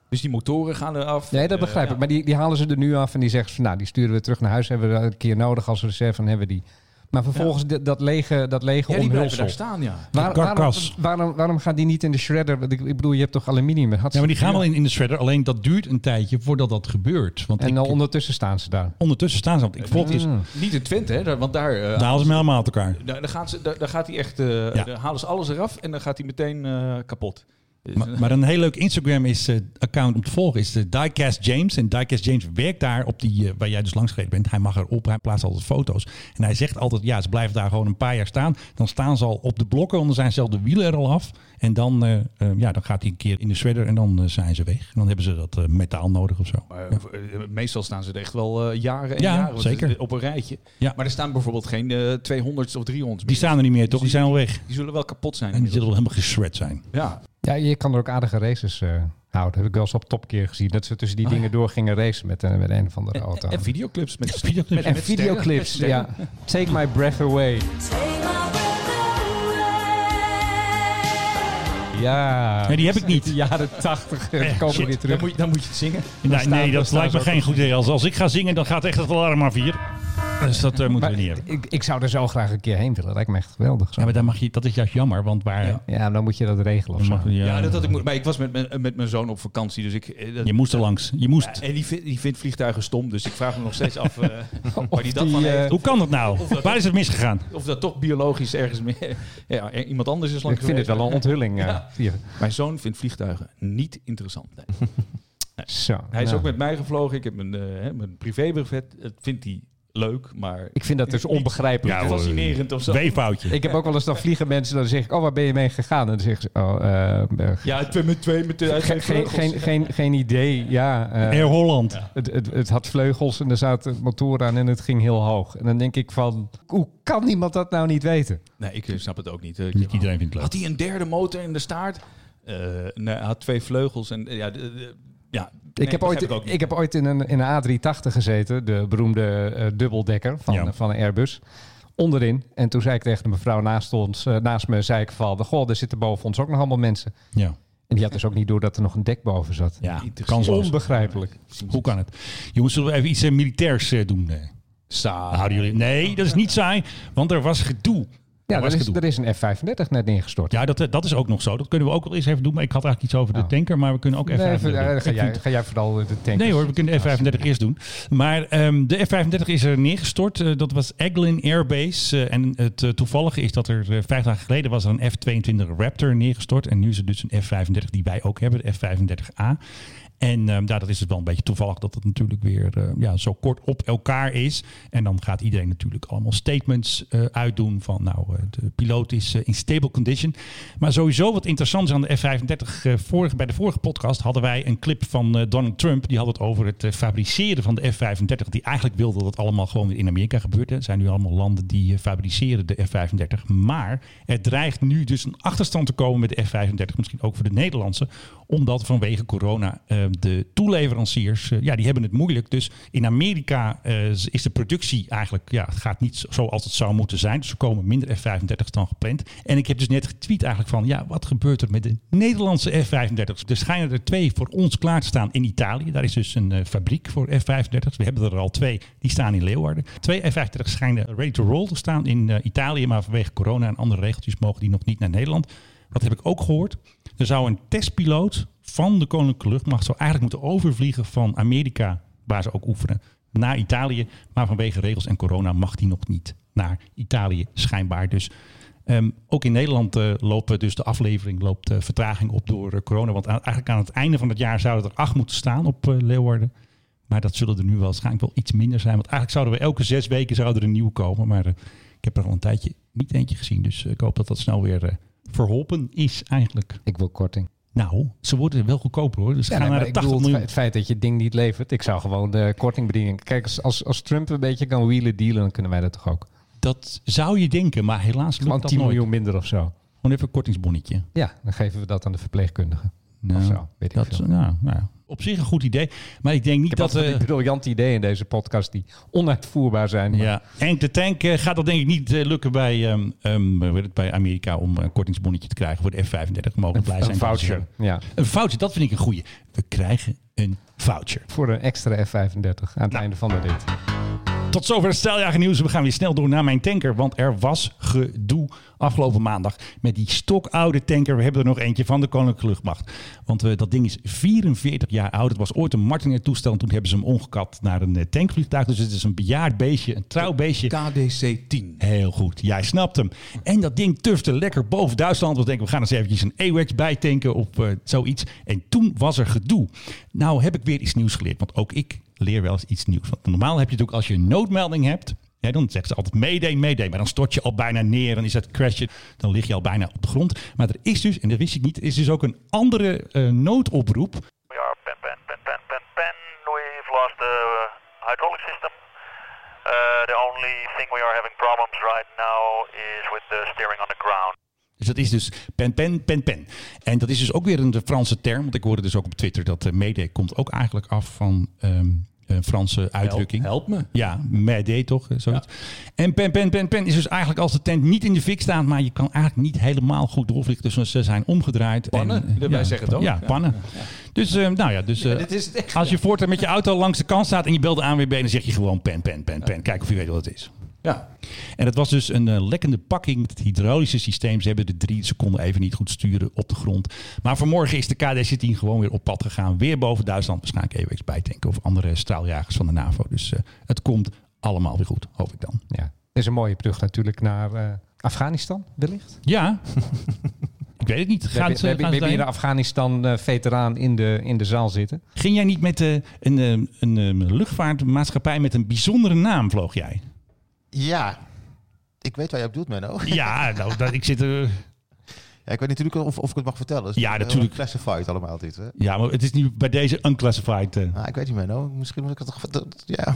S1: Dus die motoren gaan eraf.
S3: Nee, dat
S1: Eh,
S3: begrijp
S1: ja.
S3: ik. Maar die, die halen ze er nu af en die zeggen ze, nou, die sturen we terug naar huis. Hebben we een keer nodig als reserve, dan hebben we die. Maar vervolgens dat- dat lege, dat lege
S1: Ja, die blijven
S3: omhulsel.
S1: daar staan, ja.
S3: Waar-
S2: De
S3: waarom,
S2: karkas.
S3: waarom, waarom gaat die niet in de shredder? Want Ik, ik bedoel, je hebt toch aluminium? Had
S2: ja, maar die gaan wel in, in de shredder, alleen dat duurt een tijdje voordat dat gebeurt. Want
S3: En
S2: ik,
S3: dan ondertussen staan ze daar.
S2: ondertussen staan ze al. Ik volg dus, daar
S3: Mm.
S1: Niet in Twente, hè? daar- Want daar, eh,
S2: halen ze hem helemaal uit elkaar.
S1: daar, daar gaan ze, daar, daar gaat hij echt... eh,
S2: Nou. Ja.
S1: Daar halen ze alles eraf en dan gaat hij meteen eh, kapot. Dus,
S2: Maar, maar een heel leuk Instagram-account om te volgen is de Diecast James. En Diecast James werkt daar op die, eh, waar jij dus langs gereden bent. Hij mag erop, hij plaatst altijd foto's. En hij zegt altijd, ja, ze blijven daar gewoon een paar jaar staan. Dan staan ze al op de blokken, want dan zijn zelf de wielen er al af. En dan, eh, eh, ja, dan gaat hij een keer in de shredder en dan eh, zijn ze weg. En dan hebben ze dat eh, metaal nodig of zo.
S1: eh,
S2: Ja.
S1: eh, Meestal staan ze er echt wel eh, jaren en
S2: Ja,
S1: jaren want
S2: zeker.
S1: het- op een rijtje.
S2: Ja.
S1: Maar er staan bijvoorbeeld geen eh 200's of 300's
S2: Die staan er niet meer, toch? Die zijn al weg.
S1: Die zullen wel kapot zijn.
S2: En die zullen
S1: inmiddels.
S2: wel helemaal geschred zijn.
S1: Ja,
S3: Ja, je kan er ook aardige races eh, houden. heb ik wel eens op topkeer gezien. Dat ze tussen die dingen door gingen racen met, een- met een of andere auto.
S1: Oh en, en videoclips met
S2: Videoclips.
S3: En
S1: met
S3: videoclips,
S1: sterren.
S3: ja. Take my breath away.
S7: Take my breath away.
S3: Ja.
S2: Nee, die heb ik niet.
S3: De jaren tachtig.
S2: Eh,
S3: eh, komen
S2: shit,
S3: we weer terug.
S1: Dan moet, je- dan moet je het zingen.
S2: Nee,
S3: staan-
S2: nee,
S3: dan
S2: dat
S3: staan
S2: lijkt me
S3: ze ook
S2: geen goed idee. Als, als ik ga zingen, dan gaat echt het alarm af hier. Dus dat eh, moeten
S3: Maar
S2: we niet hebben.
S3: ik, ik zou er zo graag een keer heen willen. Lijkt me echt geweldig. Zo.
S2: Ja, maar dan mag je, dat is juist jammer, want waar...
S1: Ja.
S3: Ja, maar dan moet je dat regelen of
S2: Dan
S3: zo.
S2: mag je- eh,
S1: Ja, dat had ik, mo- maar ik was met, mijn- eh, met mijn zoon op vakantie, dus ik... eh, dat-
S2: Je moest er langs. Je moest.
S1: En die, vind- die vindt vliegtuigen stom, dus ik vraag me nog steeds af
S2: <laughs>
S1: eh, waar die dat
S3: die,
S1: van
S3: eh,
S1: heeft.
S2: Hoe kan dat nou?
S1: Of dat-
S2: Waar is het misgegaan?
S1: Of dat toch biologisch ergens meer... <laughs> ja, er- iemand anders is lang
S3: Ik vind het wel een onthulling. eh,
S1: Ja.
S3: hier.
S1: Mijn zoon vindt vliegtuigen niet interessant. Nee.
S3: Zo.
S1: Hij is
S3: nou.
S1: ook met mij gevlogen. Ik heb mijn, eh, hè, mijn privébuffet. Dat vindt hij leuk, maar
S3: Ik vind dat dus onbegrijpelijk.
S2: Ja, hoor.
S1: fascinerend of zo.
S2: Weefoutje.
S3: Ik heb ook wel eens dan vliegen mensen, dan zeg ik, oh, waar ben je mee gegaan? En dan zeggen ze, oh, eh, eh,
S1: Ja, twee met twee met twee. uit
S3: ge-
S1: twee
S3: geen,
S1: vleugels.
S3: geen, geen, geen idee. Ja, eh,
S2: Air Holland.
S3: het, het, het had vleugels en er zaten motoren aan en het ging heel hoog. En dan denk ik van, hoe kan niemand dat nou niet weten?
S1: Nee, ik eh, snap het ook niet. Eh, ik-
S2: Niet iedereen vindt het leuk.
S1: Had hij een derde motor in de staart? Eh, nee, hij had twee vleugels en eh, ja, de- de- ja.
S3: ik, heb ooit, ik, heb ooit in een, in een A380 gezeten, de beroemde eh, dubbeldekker van,
S2: Ja.
S3: van Airbus. Onderin. En toen zei ik tegen de mevrouw naast, ons, eh, naast me, zei ik van, goh, er zitten boven ons ook nog allemaal mensen.
S2: Ja.
S3: En die had dus ook niet door dat er nog een dek boven zat.
S2: ja. Kansloos.
S3: Onbegrijpelijk.
S2: Hoe kan het? Jongens, zullen we even iets eh, militairs eh, doen? eh?
S1: Sa.
S2: Houden jullie... Nee, dat is niet saai, want er was gedoe.
S3: Ja,
S2: Er was
S3: er is,
S2: gedoe.
S3: er is een F-35 net neergestort.
S2: Ja, dat, eh, dat is ook nog zo. Dat kunnen we ook wel eens even doen. Maar ik had eigenlijk iets over de
S3: Oh.
S2: tanker, maar we kunnen ook even...
S3: Nee, even-
S2: even-
S3: eh,
S2: ik
S3: ga,
S2: vind-
S3: jij, ga jij vooral de tank.
S2: Nee hoor, we kunnen de F-35 eerst doen. Maar ehm, de F-35 is er neergestort. Eh, dat was Eglin Airbase. Eh, en het eh, toevallige is dat er eh, vijf dagen geleden was er een F-22 Raptor neergestort. En nu is het dus een F-35 die wij ook hebben, de F-35A. En ehm, nou, dat is het wel een beetje toevallig dat het natuurlijk weer eh, ja, zo kort op elkaar is. En dan gaat iedereen natuurlijk allemaal statements eh, uitdoen van nou, eh, de piloot is eh, in stable condition. Maar sowieso wat interessant is aan de F-35, eh, vorige, bij de vorige podcast hadden wij een clip van eh, Donald Trump. Die had het over het eh, fabriceren van de F-35. Die eigenlijk wilde dat het allemaal gewoon weer in Amerika gebeurt. hè. Er zijn nu allemaal landen die eh, fabriceren de F-35. Maar er dreigt nu dus een achterstand te komen met de F-35. Misschien ook voor de Nederlandse. Omdat vanwege corona eh, de toeleveranciers, eh, ja, die hebben het moeilijk. Dus in Amerika eh, is de productie eigenlijk, ja, het gaat niet zo- zoals het zou moeten zijn. Dus er komen minder F-35's dan gepland. En ik heb dus net getweet eigenlijk van, ja, wat gebeurt er met de Nederlandse F-35's? Er schijnen er twee voor ons klaar te staan in Italië. Daar is dus een eh, fabriek voor F-35's. We hebben er al twee, die staan in Leeuwarden. Twee F-35's schijnen ready to roll te staan in eh, Italië. Maar vanwege corona en andere regeltjes mogen die nog niet naar Nederland. Dat heb ik ook gehoord. Er zou een testpiloot van de Koninklijke Luchtmacht zou eigenlijk moeten overvliegen van Amerika, waar ze ook oefenen, naar Italië. Maar vanwege regels en corona mag die nog niet naar Italië, schijnbaar. Dus ehm, ook in Nederland eh, lopen dus de aflevering loopt eh, vertraging op door eh, corona. Want aan- eigenlijk aan het einde van het jaar zouden er acht moeten staan op eh, Leeuwarden. Maar dat zullen er nu wel waarschijnlijk wel iets minder zijn. Want eigenlijk zouden we elke zes weken zouden er een nieuw komen. Maar eh, ik heb er al een tijdje niet eentje gezien. Dus eh, ik hoop dat dat snel weer eh, verholpen is eigenlijk.
S3: Ik wil korting.
S2: Nou, ze worden wel goedkoper hoor. Dus
S3: Ja,
S2: gaan
S3: nee, maar
S2: naar de
S3: ik
S2: 80
S3: bedoel, het fe-
S2: miljoen.
S3: het feit dat je het ding niet levert. Ik zou gewoon de kortingbediening... Kijk, als, als, als Trump een beetje kan wheelen dealen, dan kunnen wij dat toch ook.
S2: Dat zou je denken, maar helaas lukt
S3: Gewoon
S2: dat
S3: 10
S2: nooit.
S3: miljoen minder of zo.
S2: Gewoon even een kortingsbonnetje.
S3: Ja, dan geven we dat aan de verpleegkundige.
S2: Nou,
S3: of zo, weet ik
S2: dat,
S3: veel.
S2: nou, nou, ja. op zich een goed idee. Maar ik denk niet
S3: Ik heb
S2: dat...
S3: altijd
S2: eh,
S3: van die briljante ideeën in deze podcast die onuitvoerbaar zijn. maar-
S2: ja, Henk de Tank eh, gaat dat denk ik niet eh, lukken bij, ehm, ehm, hoe heet het, bij Amerika om een kortingsbonnetje te krijgen voor de F-35. We Mogen blij zijn. dat
S3: Een
S2: ze
S3: voucher.
S2: hebben.
S3: Ja,
S2: Een voucher, dat vind ik een goeie. We krijgen een voucher.
S3: voor een extra F-35 aan het
S2: Nou.
S3: einde van de rit.
S2: Tot zover het Staaljager nieuws. We gaan weer snel door naar mijn tanker. Want er was gedoe afgelopen maandag met die stokoude tanker. We hebben er nog eentje van de Koninklijke Luchtmacht. Want eh, dat ding is 44 jaar oud. Het was ooit een Martiner toestel. En toen hebben ze hem omgekat naar een eh, tankvliegtuig. Dus het is een bejaard beestje, een trouw beestje.
S1: KDC 10.
S2: Heel goed, jij snapt hem. En dat ding tufte lekker boven Duitsland. We denken, we gaan eens eventjes een AWACS bijtanken of eh, zoiets. En toen was er gedoe. Nou heb ik weer iets nieuws geleerd, want ook ik leer wel eens iets nieuws. Want normaal heb je natuurlijk, als je een noodmelding hebt... Hè, dan zegt ze altijd meedee, meedee. Maar dan stort je al bijna neer, dan is dat crashen. Dan lig je al bijna op de grond. Maar er is dus, en dat wist ik niet, er is dus ook een andere eh, noodoproep.
S8: We are pen, pen, pen, pen, pen, pen. We've lost the uh, hydraulic system. Uh, the only thing we are having problems right now is with the steering on the ground.
S2: Dus dat is dus pen, pen, pen, pen. En dat is dus ook weer een Franse term. Want ik hoorde dus ook op Twitter dat eh mede komt ook eigenlijk af van ehm, een Franse uitdrukking.
S1: Help me.
S2: Ja, mede toch? eh, Zoiets. En pen, pen, pen, pen is dus eigenlijk als de tent niet in de fik staat, maar je kan eigenlijk niet helemaal goed doorvliegen. Dus ze zijn omgedraaid.
S1: Pannen,
S2: en, eh,
S1: wij zeggen het ook.
S2: Ja,
S1: Ja.
S2: pannen. Dus eh, nou ja, dus, eh,
S1: dit is het echt,
S2: als je voortaan met je auto langs de kant staat en je belt de ANWB, dan zeg je gewoon pen, pen, pen, pen. Kijk of je weet wat het is.
S1: Ja.
S2: En dat was dus een eh, lekkende pakking. Het hydraulische systeem. Ze hebben de drie seconden even niet goed sturen op de grond. Maar vanmorgen is de KDC-10 gewoon weer op pad gegaan. Weer boven Duitsland. Waarschijnlijk EWX bijtanken of andere straaljagers van de NAVO. Dus eh, het komt allemaal weer goed, hoop ik dan.
S3: Ja. Is een mooie brug natuurlijk naar eh, Afghanistan, wellicht.
S2: Ja, <laughs> ik weet het niet.
S3: We
S2: Gaat, het,
S3: hebben, we
S2: eh,
S3: hebben- we
S2: gaat
S3: hebben
S2: het
S3: hier
S2: heen?
S3: een Afghanistan-veteraan in, de, in de zaal zitten.
S2: Ging jij niet met eh, een, eh, een, eh, luchtvaartmaatschappij met een bijzondere naam, vloog jij?
S4: Ja, ik weet waar je op doet, Menno.
S2: Ja, nou, dat, ik zit er...
S4: Ja, ik weet natuurlijk of, of ik het mag vertellen. Het is
S2: Ja,
S4: heel
S2: natuurlijk.
S4: Classified allemaal dit, hè?
S2: Ja, maar het is nu bij deze unclassified. eh.
S4: Nou, ik weet niet, Menno. Misschien moet ik het toch... dat- Ja.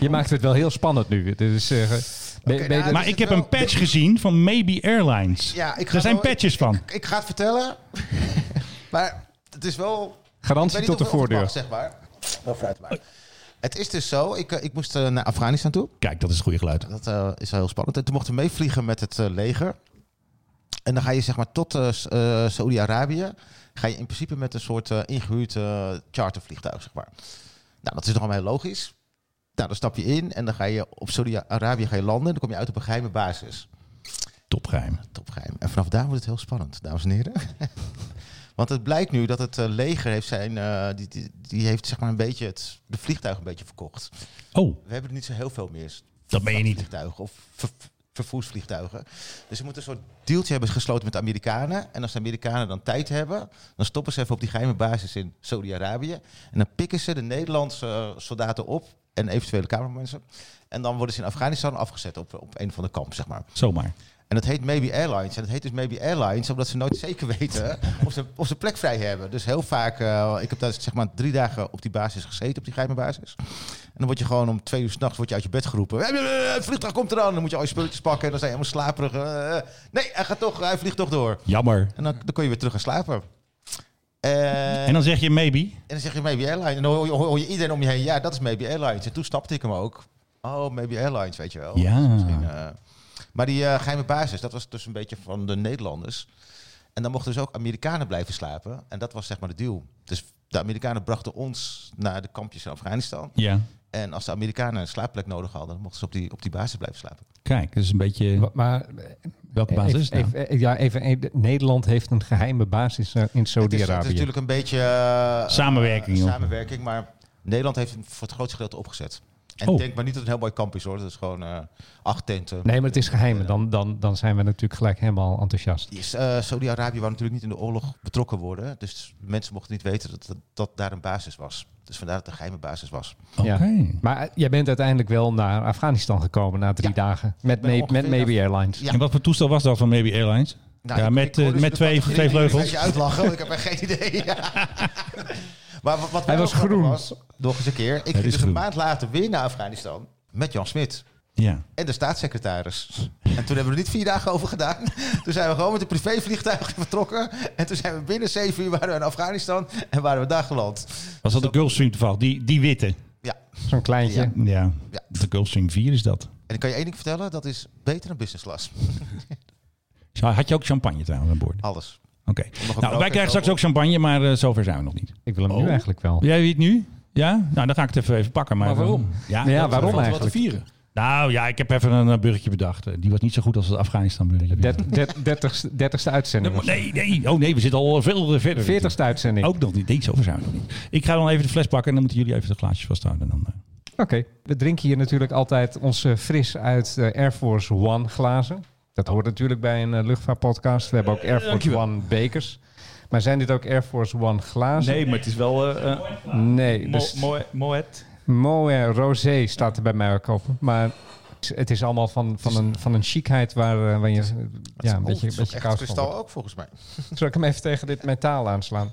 S3: Je maakt het wel heel spannend nu. Dus, eh, ben-
S4: Oké,
S3: ben je
S4: nou,
S3: er-
S2: Maar
S4: is
S2: ik
S4: het
S2: heb een
S4: wel.
S2: patch gezien van Maybe Airlines.
S4: ja ik ga
S2: Daar zijn
S4: wel-
S2: patches van.
S4: Ik ga het vertellen. maar het is wel... Ik
S3: garantie
S4: weet
S3: tot de
S4: niet of- of het
S3: voordeur.
S4: mag, zeg maar. Wel fruit maar. Het is dus zo, ik, eh, ik moest eh, naar Afghanistan toe.
S2: Kijk, dat is het goede geluid.
S4: Dat eh, is wel heel spannend. En toen mochten we meevliegen met het eh, leger. En dan ga je zeg maar tot eh, S- eh, Saoedi-Arabië. Ga je in principe met een soort eh, ingehuurd eh, chartervliegtuig, zeg maar. Nou, dat is nog allemaal heel logisch. Nou, dan stap je in en dan ga je op Saoedi-Arabië ga je landen. En dan kom je uit op een geheime basis.
S2: Topgeheim.
S4: Topgeheim. En vanaf daar wordt het heel spannend, dames en heren. <laughs> Want het blijkt nu dat het eh, leger heeft zijn... eh, die, die, die heeft zeg maar een beetje het, de vliegtuig een beetje verkocht.
S2: Oh,
S4: We hebben er niet zo heel veel meer
S2: dat ben je niet.
S4: vliegtuigen of ver- ver- vervoersvliegtuigen. Dus ze moeten een soort deeltje hebben gesloten met de Amerikanen. En als de Amerikanen dan tijd hebben, dan stoppen ze even op die geheime basis in Saudi-Arabië. En dan pikken ze de Nederlandse eh, soldaten op en eventuele cameramensen. En dan worden ze in Afghanistan afgezet op, op een van de kampen, zeg maar.
S2: Zomaar.
S4: En dat heet Maybe Airlines. En dat heet dus Maybe Airlines, omdat ze nooit zeker <laughs> weten of ze, of ze plek vrij hebben. Dus heel vaak, eh, ik heb daar zeg maar drie dagen op die basis gezeten, op die geheime basis. En dan word je gewoon om twee uur s'nachts uit je bed geroepen. Eh, eh, eh, Het vliegtuig komt eraan. Dan moet je al je spulletjes pakken en dan zijn je helemaal slaperig. Eh, eh, nee, hij gaat toch, hij vliegt toch door.
S2: Jammer.
S4: En dan, dan kun je weer terug gaan slapen. Eh,
S2: En dan zeg je maybe.
S4: en dan zeg je Maybe Airlines. En dan hoor je, hoor je iedereen om je heen. Ja, dat is Maybe Airlines. En toen snapte ik hem ook. Oh, Maybe Airlines, weet je wel.
S2: Ja.
S4: Dus misschien, eh, maar die eh, geheime basis, dat was dus een beetje van de Nederlanders. En dan mochten dus ook Amerikanen blijven slapen. En dat was zeg maar de deal. Dus de Amerikanen brachten ons naar de kampjes in Afghanistan.
S2: Ja.
S4: En als de Amerikanen een slaapplek nodig hadden, dan mochten ze op die, op die basis blijven slapen.
S2: Kijk, dat is een beetje...
S3: Wa- Maar eh,
S2: Welke basis is het nou?
S3: even, even- ja, even, eh, Nederland heeft een geheime basis eh, in
S4: Het is, het is
S3: Saudi-Arabië.
S4: natuurlijk een beetje... eh,
S2: Samenwerking,
S4: eh,
S2: joh.
S4: samenwerking, maar Nederland heeft hem voor het grootste gedeelte opgezet. En
S2: Oh.
S4: denk maar niet dat het een heel mooi kamp is hoor. Dat is gewoon eh, acht tenten.
S3: Nee, maar het is geheim. Dan, dan, dan zijn we natuurlijk gelijk helemaal enthousiast.
S4: Is, eh, Saudi-Arabië wou natuurlijk niet in de oorlog betrokken worden. Dus mensen mochten niet weten dat, dat, dat daar een basis was. Dus vandaar dat het een geheime basis was.
S2: Oké.
S3: Ja. Maar eh, jij bent uiteindelijk wel naar Afghanistan gekomen na drie
S4: Ja.
S3: dagen. Met,
S4: ben
S3: May-
S4: ongeveer
S3: met Maybe Airlines.
S4: Ja.
S2: En wat voor toestel was dat van Maybe Airlines?
S4: Nou,
S2: ja,
S4: ik- ik
S2: met,
S4: hoor
S2: eh,
S4: dus
S2: met
S4: de
S2: twee,
S4: gasten
S2: twee
S4: jullie Een
S2: vleugels.
S4: beetje uitlachen, want ik heb er geen <laughs> idee. Ja. maar wat, wat
S3: Hij
S4: wel
S3: was
S4: grappig
S3: groen.
S4: was, nog eens een keer. Ik ging
S2: is
S4: dus
S2: groen.
S4: een maand later weer naar Afghanistan met Jan Smit.
S2: Ja.
S4: En de staatssecretaris. En toen hebben we er niet vier dagen over gedaan. Toen zijn we gewoon met een privévliegtuig vertrokken. En toen zijn we binnen zeven uur waren we in Afghanistan. En waren we daar geland.
S2: Was dat de Gulfstream toevallig? Die, die witte.
S4: Ja.
S3: Zo'n kleintje.
S4: Ja.
S2: Ja.
S4: Ja.
S2: De Gulfstream 4 is dat.
S4: En ik kan je één ding vertellen. Dat is beter dan business class.
S2: Had je ook champagne trouwens aan
S1: Ah,
S2: boord?
S4: Alles.
S2: Oké. Nou, wij krijgen straks ook champagne, maar eh, zover zijn we nog niet.
S3: Ik wil hem nu eigenlijk wel.
S2: Jij weet nu? Ja? Nou, dan ga ik het even, even pakken. Maar,
S1: Maar waarom?
S2: Ja,
S3: Ja,
S2: dat-
S3: waarom
S1: Valt er wat te
S3: eigenlijk?
S1: vieren.
S2: Nou ja, ik heb even een eh, burgertje bedacht. Eh, Die was niet zo goed als het Afghanistan-burgertje.
S3: Dert- dert- dertigste- Dertigste uitzending. of zo.
S2: Nee, nee. Oh nee, we zitten al veel eh, verder.
S3: Veertigste uitzending.
S2: Ook nog niet. Nee, zover zijn we nog niet. Ik ga dan even de fles pakken en dan moeten jullie even de glaasjes vasthouden. Dan, eh.
S3: Oké. We drinken hier natuurlijk altijd onze fris uit eh, Air Force One glazen. Dat hoort natuurlijk bij een eh, luchtvaartpodcast. We hebben ook Air Force
S1: dankjewel.
S3: One bekers. Maar zijn dit ook Air Force One glazen?
S1: Nee, maar het is wel... eh, eh,
S3: Nee,
S1: mo-
S3: dus
S1: moe- Moet.
S3: Moe Rosé staat er bij mij ook op. Maar het is allemaal van, van, een, van een chicheid waar, eh, waar je ja,
S4: Oh,
S3: een beetje, een beetje
S4: Echt
S3: koud van
S4: kristal
S3: wordt.
S4: ook volgens mij.
S3: Zal ik hem even tegen dit metaal aanslaan?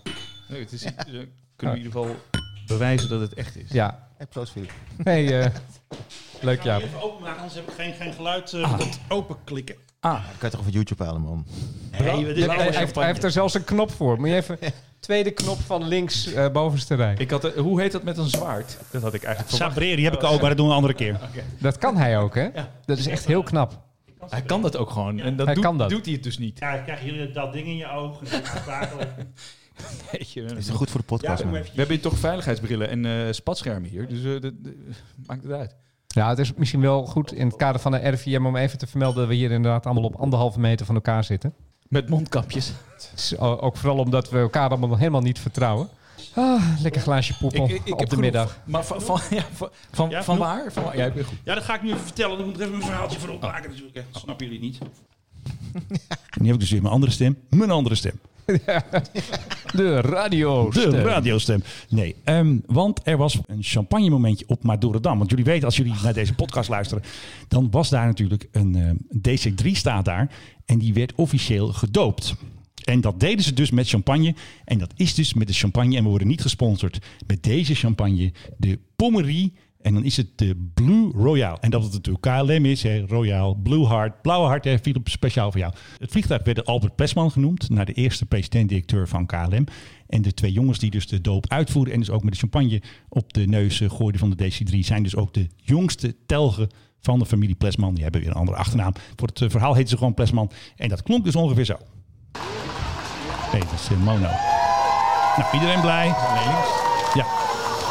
S1: Nee, het is, eh, kunnen we in ieder geval bewijzen dat het echt is.
S3: Ja.
S4: Hey, proost Filip.
S3: Hey, eh, leuk Jaap.
S2: Even openmaken, anders heb ik geen, geen geluid. Dat openklikken.
S4: Dat kan je toch van YouTube halen man.
S3: Hij- hij, heeft, hij heeft er zelfs een knop voor. Moet je even... Tweede knop van links, eh, bovenste rij.
S1: Ik had, eh, hoe heet dat met een zwaard? Dat had ik eigenlijk verwacht.
S2: Sabreren, die heb ik ook, maar dat doen we een andere keer.
S3: Dat kan hij ook, hè? Dat is echt heel knap.
S1: Hij kan dat ook gewoon. En dat,
S3: Hij
S1: doet,
S3: kan dat.
S1: doet hij het dus niet.
S2: Ja, dan krijg je dat ding in je oog.
S1: <laughs>
S2: <laughs>
S1: Weet je,
S4: Is
S1: we
S4: het goed voor de podcast man?
S1: hebben hier toch veiligheidsbrillen en eh, spatschermen hier. Dus eh, dat- dat- maakt het uit.
S3: Ja, het is misschien wel goed in het kader van de RVM om even te vermelden dat we hier inderdaad allemaal op anderhalve meter van elkaar zitten.
S1: Met mondkapjes.
S3: Dus, eh, ook vooral omdat we elkaar allemaal nog helemaal niet vertrouwen. Ah, lekker glaasje poep op, op de
S1: genoeg.
S3: middag.
S1: Maar van, van, ja, van, van,
S2: Ja,
S1: van
S2: genoeg?
S1: waar? Van waar? Ja, ik ben goed.
S2: Ja, dat ga ik nu even vertellen. Dan moet ik even een verhaaltje voor opmaken natuurlijk. Dat snappen jullie niet. Oh. <laughs> Nu heb ik dus weer mijn andere stem. Mijn andere stem.
S3: De radio.
S2: De radiostem. Nee, ehm, want er was een champagne momentje op Madurodam. Want jullie weten, als jullie naar deze podcast luisteren, dan was daar natuurlijk een ehm, DC-3 staat daar. En die werd officieel gedoopt. En dat deden ze dus met champagne. En dat is dus met de champagne. En we worden niet gesponsord met deze champagne. De Pommerie. En dan is het de Blue Royale. En dat het natuurlijk KLM is, hè, Royale, Blue Heart, Blauwe Hart, hè, Philip, speciaal voor jou. Het vliegtuig werd Albert Plesman genoemd, naar de eerste president-directeur van KLM. En de twee jongens die dus de doop uitvoerden en dus ook met de champagne op de neus eh, gooiden van de DC-3, zijn dus ook de jongste telgen van de familie Plesman. Die hebben weer een andere achternaam. Voor het eh, verhaal heten ze gewoon Plesman. En dat klonk dus ongeveer zo. Nee, dat is eh, mono. Nou, iedereen blij. Ja,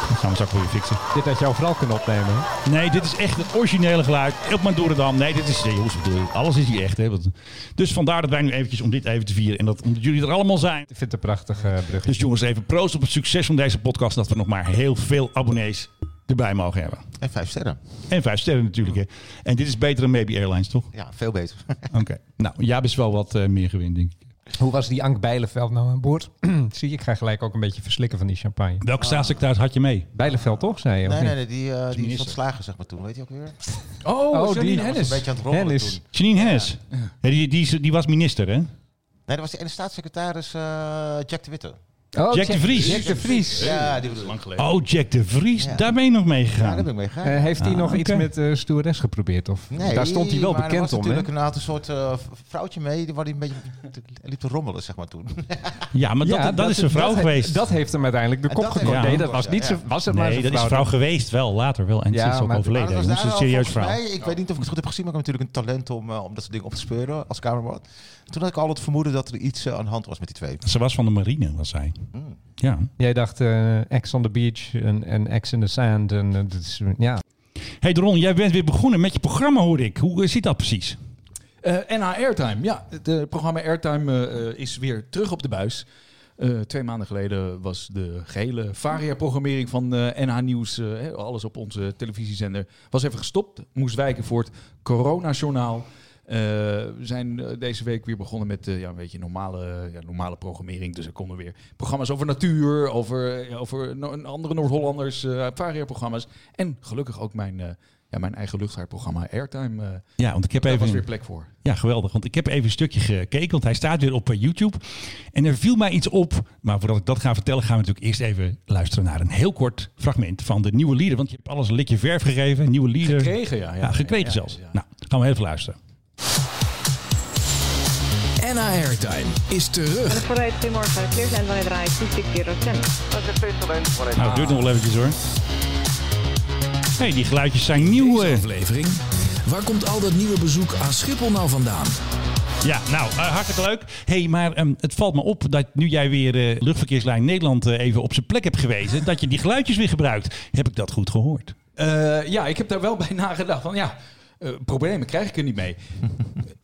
S2: dat gaan we straks voor je fixen.
S3: Dit had je overal kunnen opnemen. hè?
S2: Nee, dit is echt het originele geluid. Op Mandorendam. Nee, dit is nee, jongens, ik bedoel, Alles is hier echt. Hè? Want- Dus vandaar dat wij nu eventjes om dit even te vieren. En dat omdat jullie er allemaal zijn.
S3: Ik eh, vind het een prachtige brug.
S2: Dus jongens, even proost op het succes van deze podcast. Dat we nog maar heel veel abonnees erbij mogen hebben.
S4: En vijf sterren.
S2: En vijf sterren natuurlijk. Hè. En dit is beter dan Maybe Airlines, toch?
S4: Ja, veel beter.
S2: Oké. Nou, ja, best wel wat eh, meer gewin, denk ik.
S3: Hoe was die Ank Bijleveld nou aan boord? <clears throat> Zie je, ik ga gelijk ook een beetje verslikken van die champagne.
S2: Welke staatssecretaris had je mee?
S3: Bijleveld toch, zei je? of
S4: nee, nee,
S3: niet?
S4: nee, die, eh die is
S2: minister.
S4: ontslagen, zeg maar toen. Weet je ook weer?
S1: Oh,
S3: Oh,
S1: Janine
S3: die-
S1: Hennis.
S4: Een beetje aan het rommelen
S3: Hennis.
S4: toen.
S2: Janine Hennis. Ja, die, die, is- die was minister, hè?
S4: Nee, dat was die ene staatssecretaris eh, Jack de Witte.
S3: Oh,
S2: Jack de Vries.
S3: Jack de Vries.
S4: Ja, die bedoel ik.
S2: Oh, Jack de Vries.
S4: Ja.
S2: Daar ben je nog mee
S4: Ja, daar
S2: gegaan.
S4: ben ik mee gegaan.
S3: Eh, heeft hij
S2: Ah,
S3: nog
S2: oké.
S3: iets met eh stewardess geprobeerd? Of?
S4: Nee,
S3: Daar stond hij wel
S4: maar
S3: bekend om.
S4: Er was
S3: hè?
S4: natuurlijk een aantal soort eh, v- vrouwtje mee, die waar hij een beetje hij liep te rommelen, zeg maar toen.
S2: Ja, maar dat,
S3: Ja,
S2: dat, is een vrouw
S3: dat he-
S2: geweest.
S3: Dat heeft hem uiteindelijk de
S4: En
S3: kop
S4: dat heeft
S3: gekost.
S2: hem
S3: Nee,
S2: de
S3: dat
S4: kop
S3: was niet
S4: gekost,
S3: zo. Was het maar
S2: nee,
S3: zo'n
S2: dat is
S3: vrouw
S2: vrouw geweest, wel later wel. En
S3: Ja,
S2: ze is ook
S3: maar-
S2: overleden.
S4: Maar
S2: jongens.
S4: dat
S2: Dat
S4: was
S2: is
S4: daar
S2: een
S4: wel
S2: serieus
S4: volgens
S2: verhaal.
S4: Mij, ik weet niet of ik het goed heb gezien, maar ik heb natuurlijk een talent om, eh, om dat soort dingen op te speuren als cameraman. Toen had ik al het vermoeden dat er iets eh, aan de hand was met die twee.
S2: Ze was van de marine, was zij. Ja.
S3: Jij dacht eh ex on the beach en, en ex in the sand. En, eh, dat is, ja.
S2: Hey Ron, jij bent weer begonnen met je programma, hoor ik. Hoe eh, zit dat precies?
S1: Eh, NH Airtime, ja. Het eh, programma Airtime eh, eh, is weer terug op de buis. Eh, twee maanden geleden was de gehele varia-programmering van eh, NH Nieuws, eh, hè, alles op onze televisiezender, was even gestopt. Moest wijken voor het coronajournaal. Eh, we zijn eh, deze week weer begonnen met eh, ja, een beetje normale, ja, normale programmering. Dus er konden weer programma's over natuur, over, eh, over no- andere Noord-Hollanders, eh varia-programma's. En gelukkig ook mijn, eh, ja, mijn eigen luchtvaartprogramma Airtime. eh
S2: Ja, want ik heb
S1: daar
S2: even...
S1: was weer plek voor.
S2: Ja, geweldig. Want ik heb even een stukje gekeken, want hij staat weer op eh, YouTube. En er viel mij iets op. Maar voordat ik dat ga vertellen, gaan we natuurlijk eerst even luisteren naar een heel kort fragment van de nieuwe lieder. Want je hebt alles een likje verf gegeven, nieuwe lieder.
S1: Gekregen, ja. ja,
S2: Ja, gekregen
S1: ja,
S2: zelfs.
S1: ja.
S2: Nou, gaan we even luisteren.
S6: NH Airtime is terug.
S9: Vooruit, goedemorgen. Clearland vanuit draai 2640.
S2: Nou, het duurt nog wel eventjes hoor. hey, die geluidjes zijn nieuw.
S6: Deze
S2: eh.
S6: aflevering. Waar komt al dat nieuwe bezoek aan Schiphol nou vandaan?
S2: Ja, nou, eh, hartstikke leuk. hey, maar ehm, het valt me op dat nu jij weer eh, luchtverkeerslijn Nederland eh, even op zijn plek hebt gewezen, dat je die geluidjes weer gebruikt. Heb ik dat goed gehoord?
S1: Eh, ja, ik heb daar wel <laughs> bij nagedacht. Van ja, eh, problemen krijg ik er niet
S2: <laughs>
S1: mee.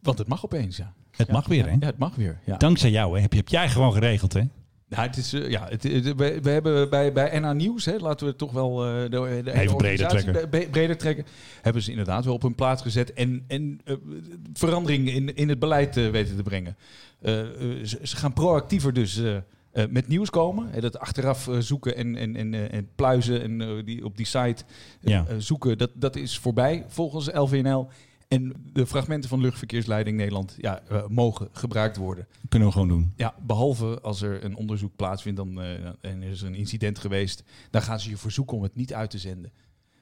S1: Want het mag opeens, ja.
S2: Het mag weer, hè?
S1: Ja, het mag weer. Ja.
S2: Dankzij jou, hè? Heb, je- heb jij gewoon geregeld, hè?
S1: Nou, het is, eh, ja, het, het- we, we hebben bij, bij NA Nieuws, hè, laten we toch wel eh, de, de hele
S2: breder
S1: organisatie
S2: trekken.
S1: bre- breder trekken, hebben ze inderdaad wel op hun plaats gezet en, en eh, verandering in, in het beleid eh, weten te brengen. Eh, eh, ze, ze gaan proactiever dus eh, eh, met nieuws komen. Hè, dat achteraf eh, zoeken en, en, en, eh, en pluizen en eh, die, op die site eh,
S2: Ja.
S1: eh, zoeken, dat, dat is voorbij volgens LVNL. En de fragmenten van Luchtverkeersleiding Nederland ja, eh, mogen gebruikt worden.
S2: Kunnen we gewoon doen.
S1: Ja, behalve als er een onderzoek plaatsvindt dan, eh, en er is een incident geweest, dan gaan ze je verzoeken om het niet uit te zenden.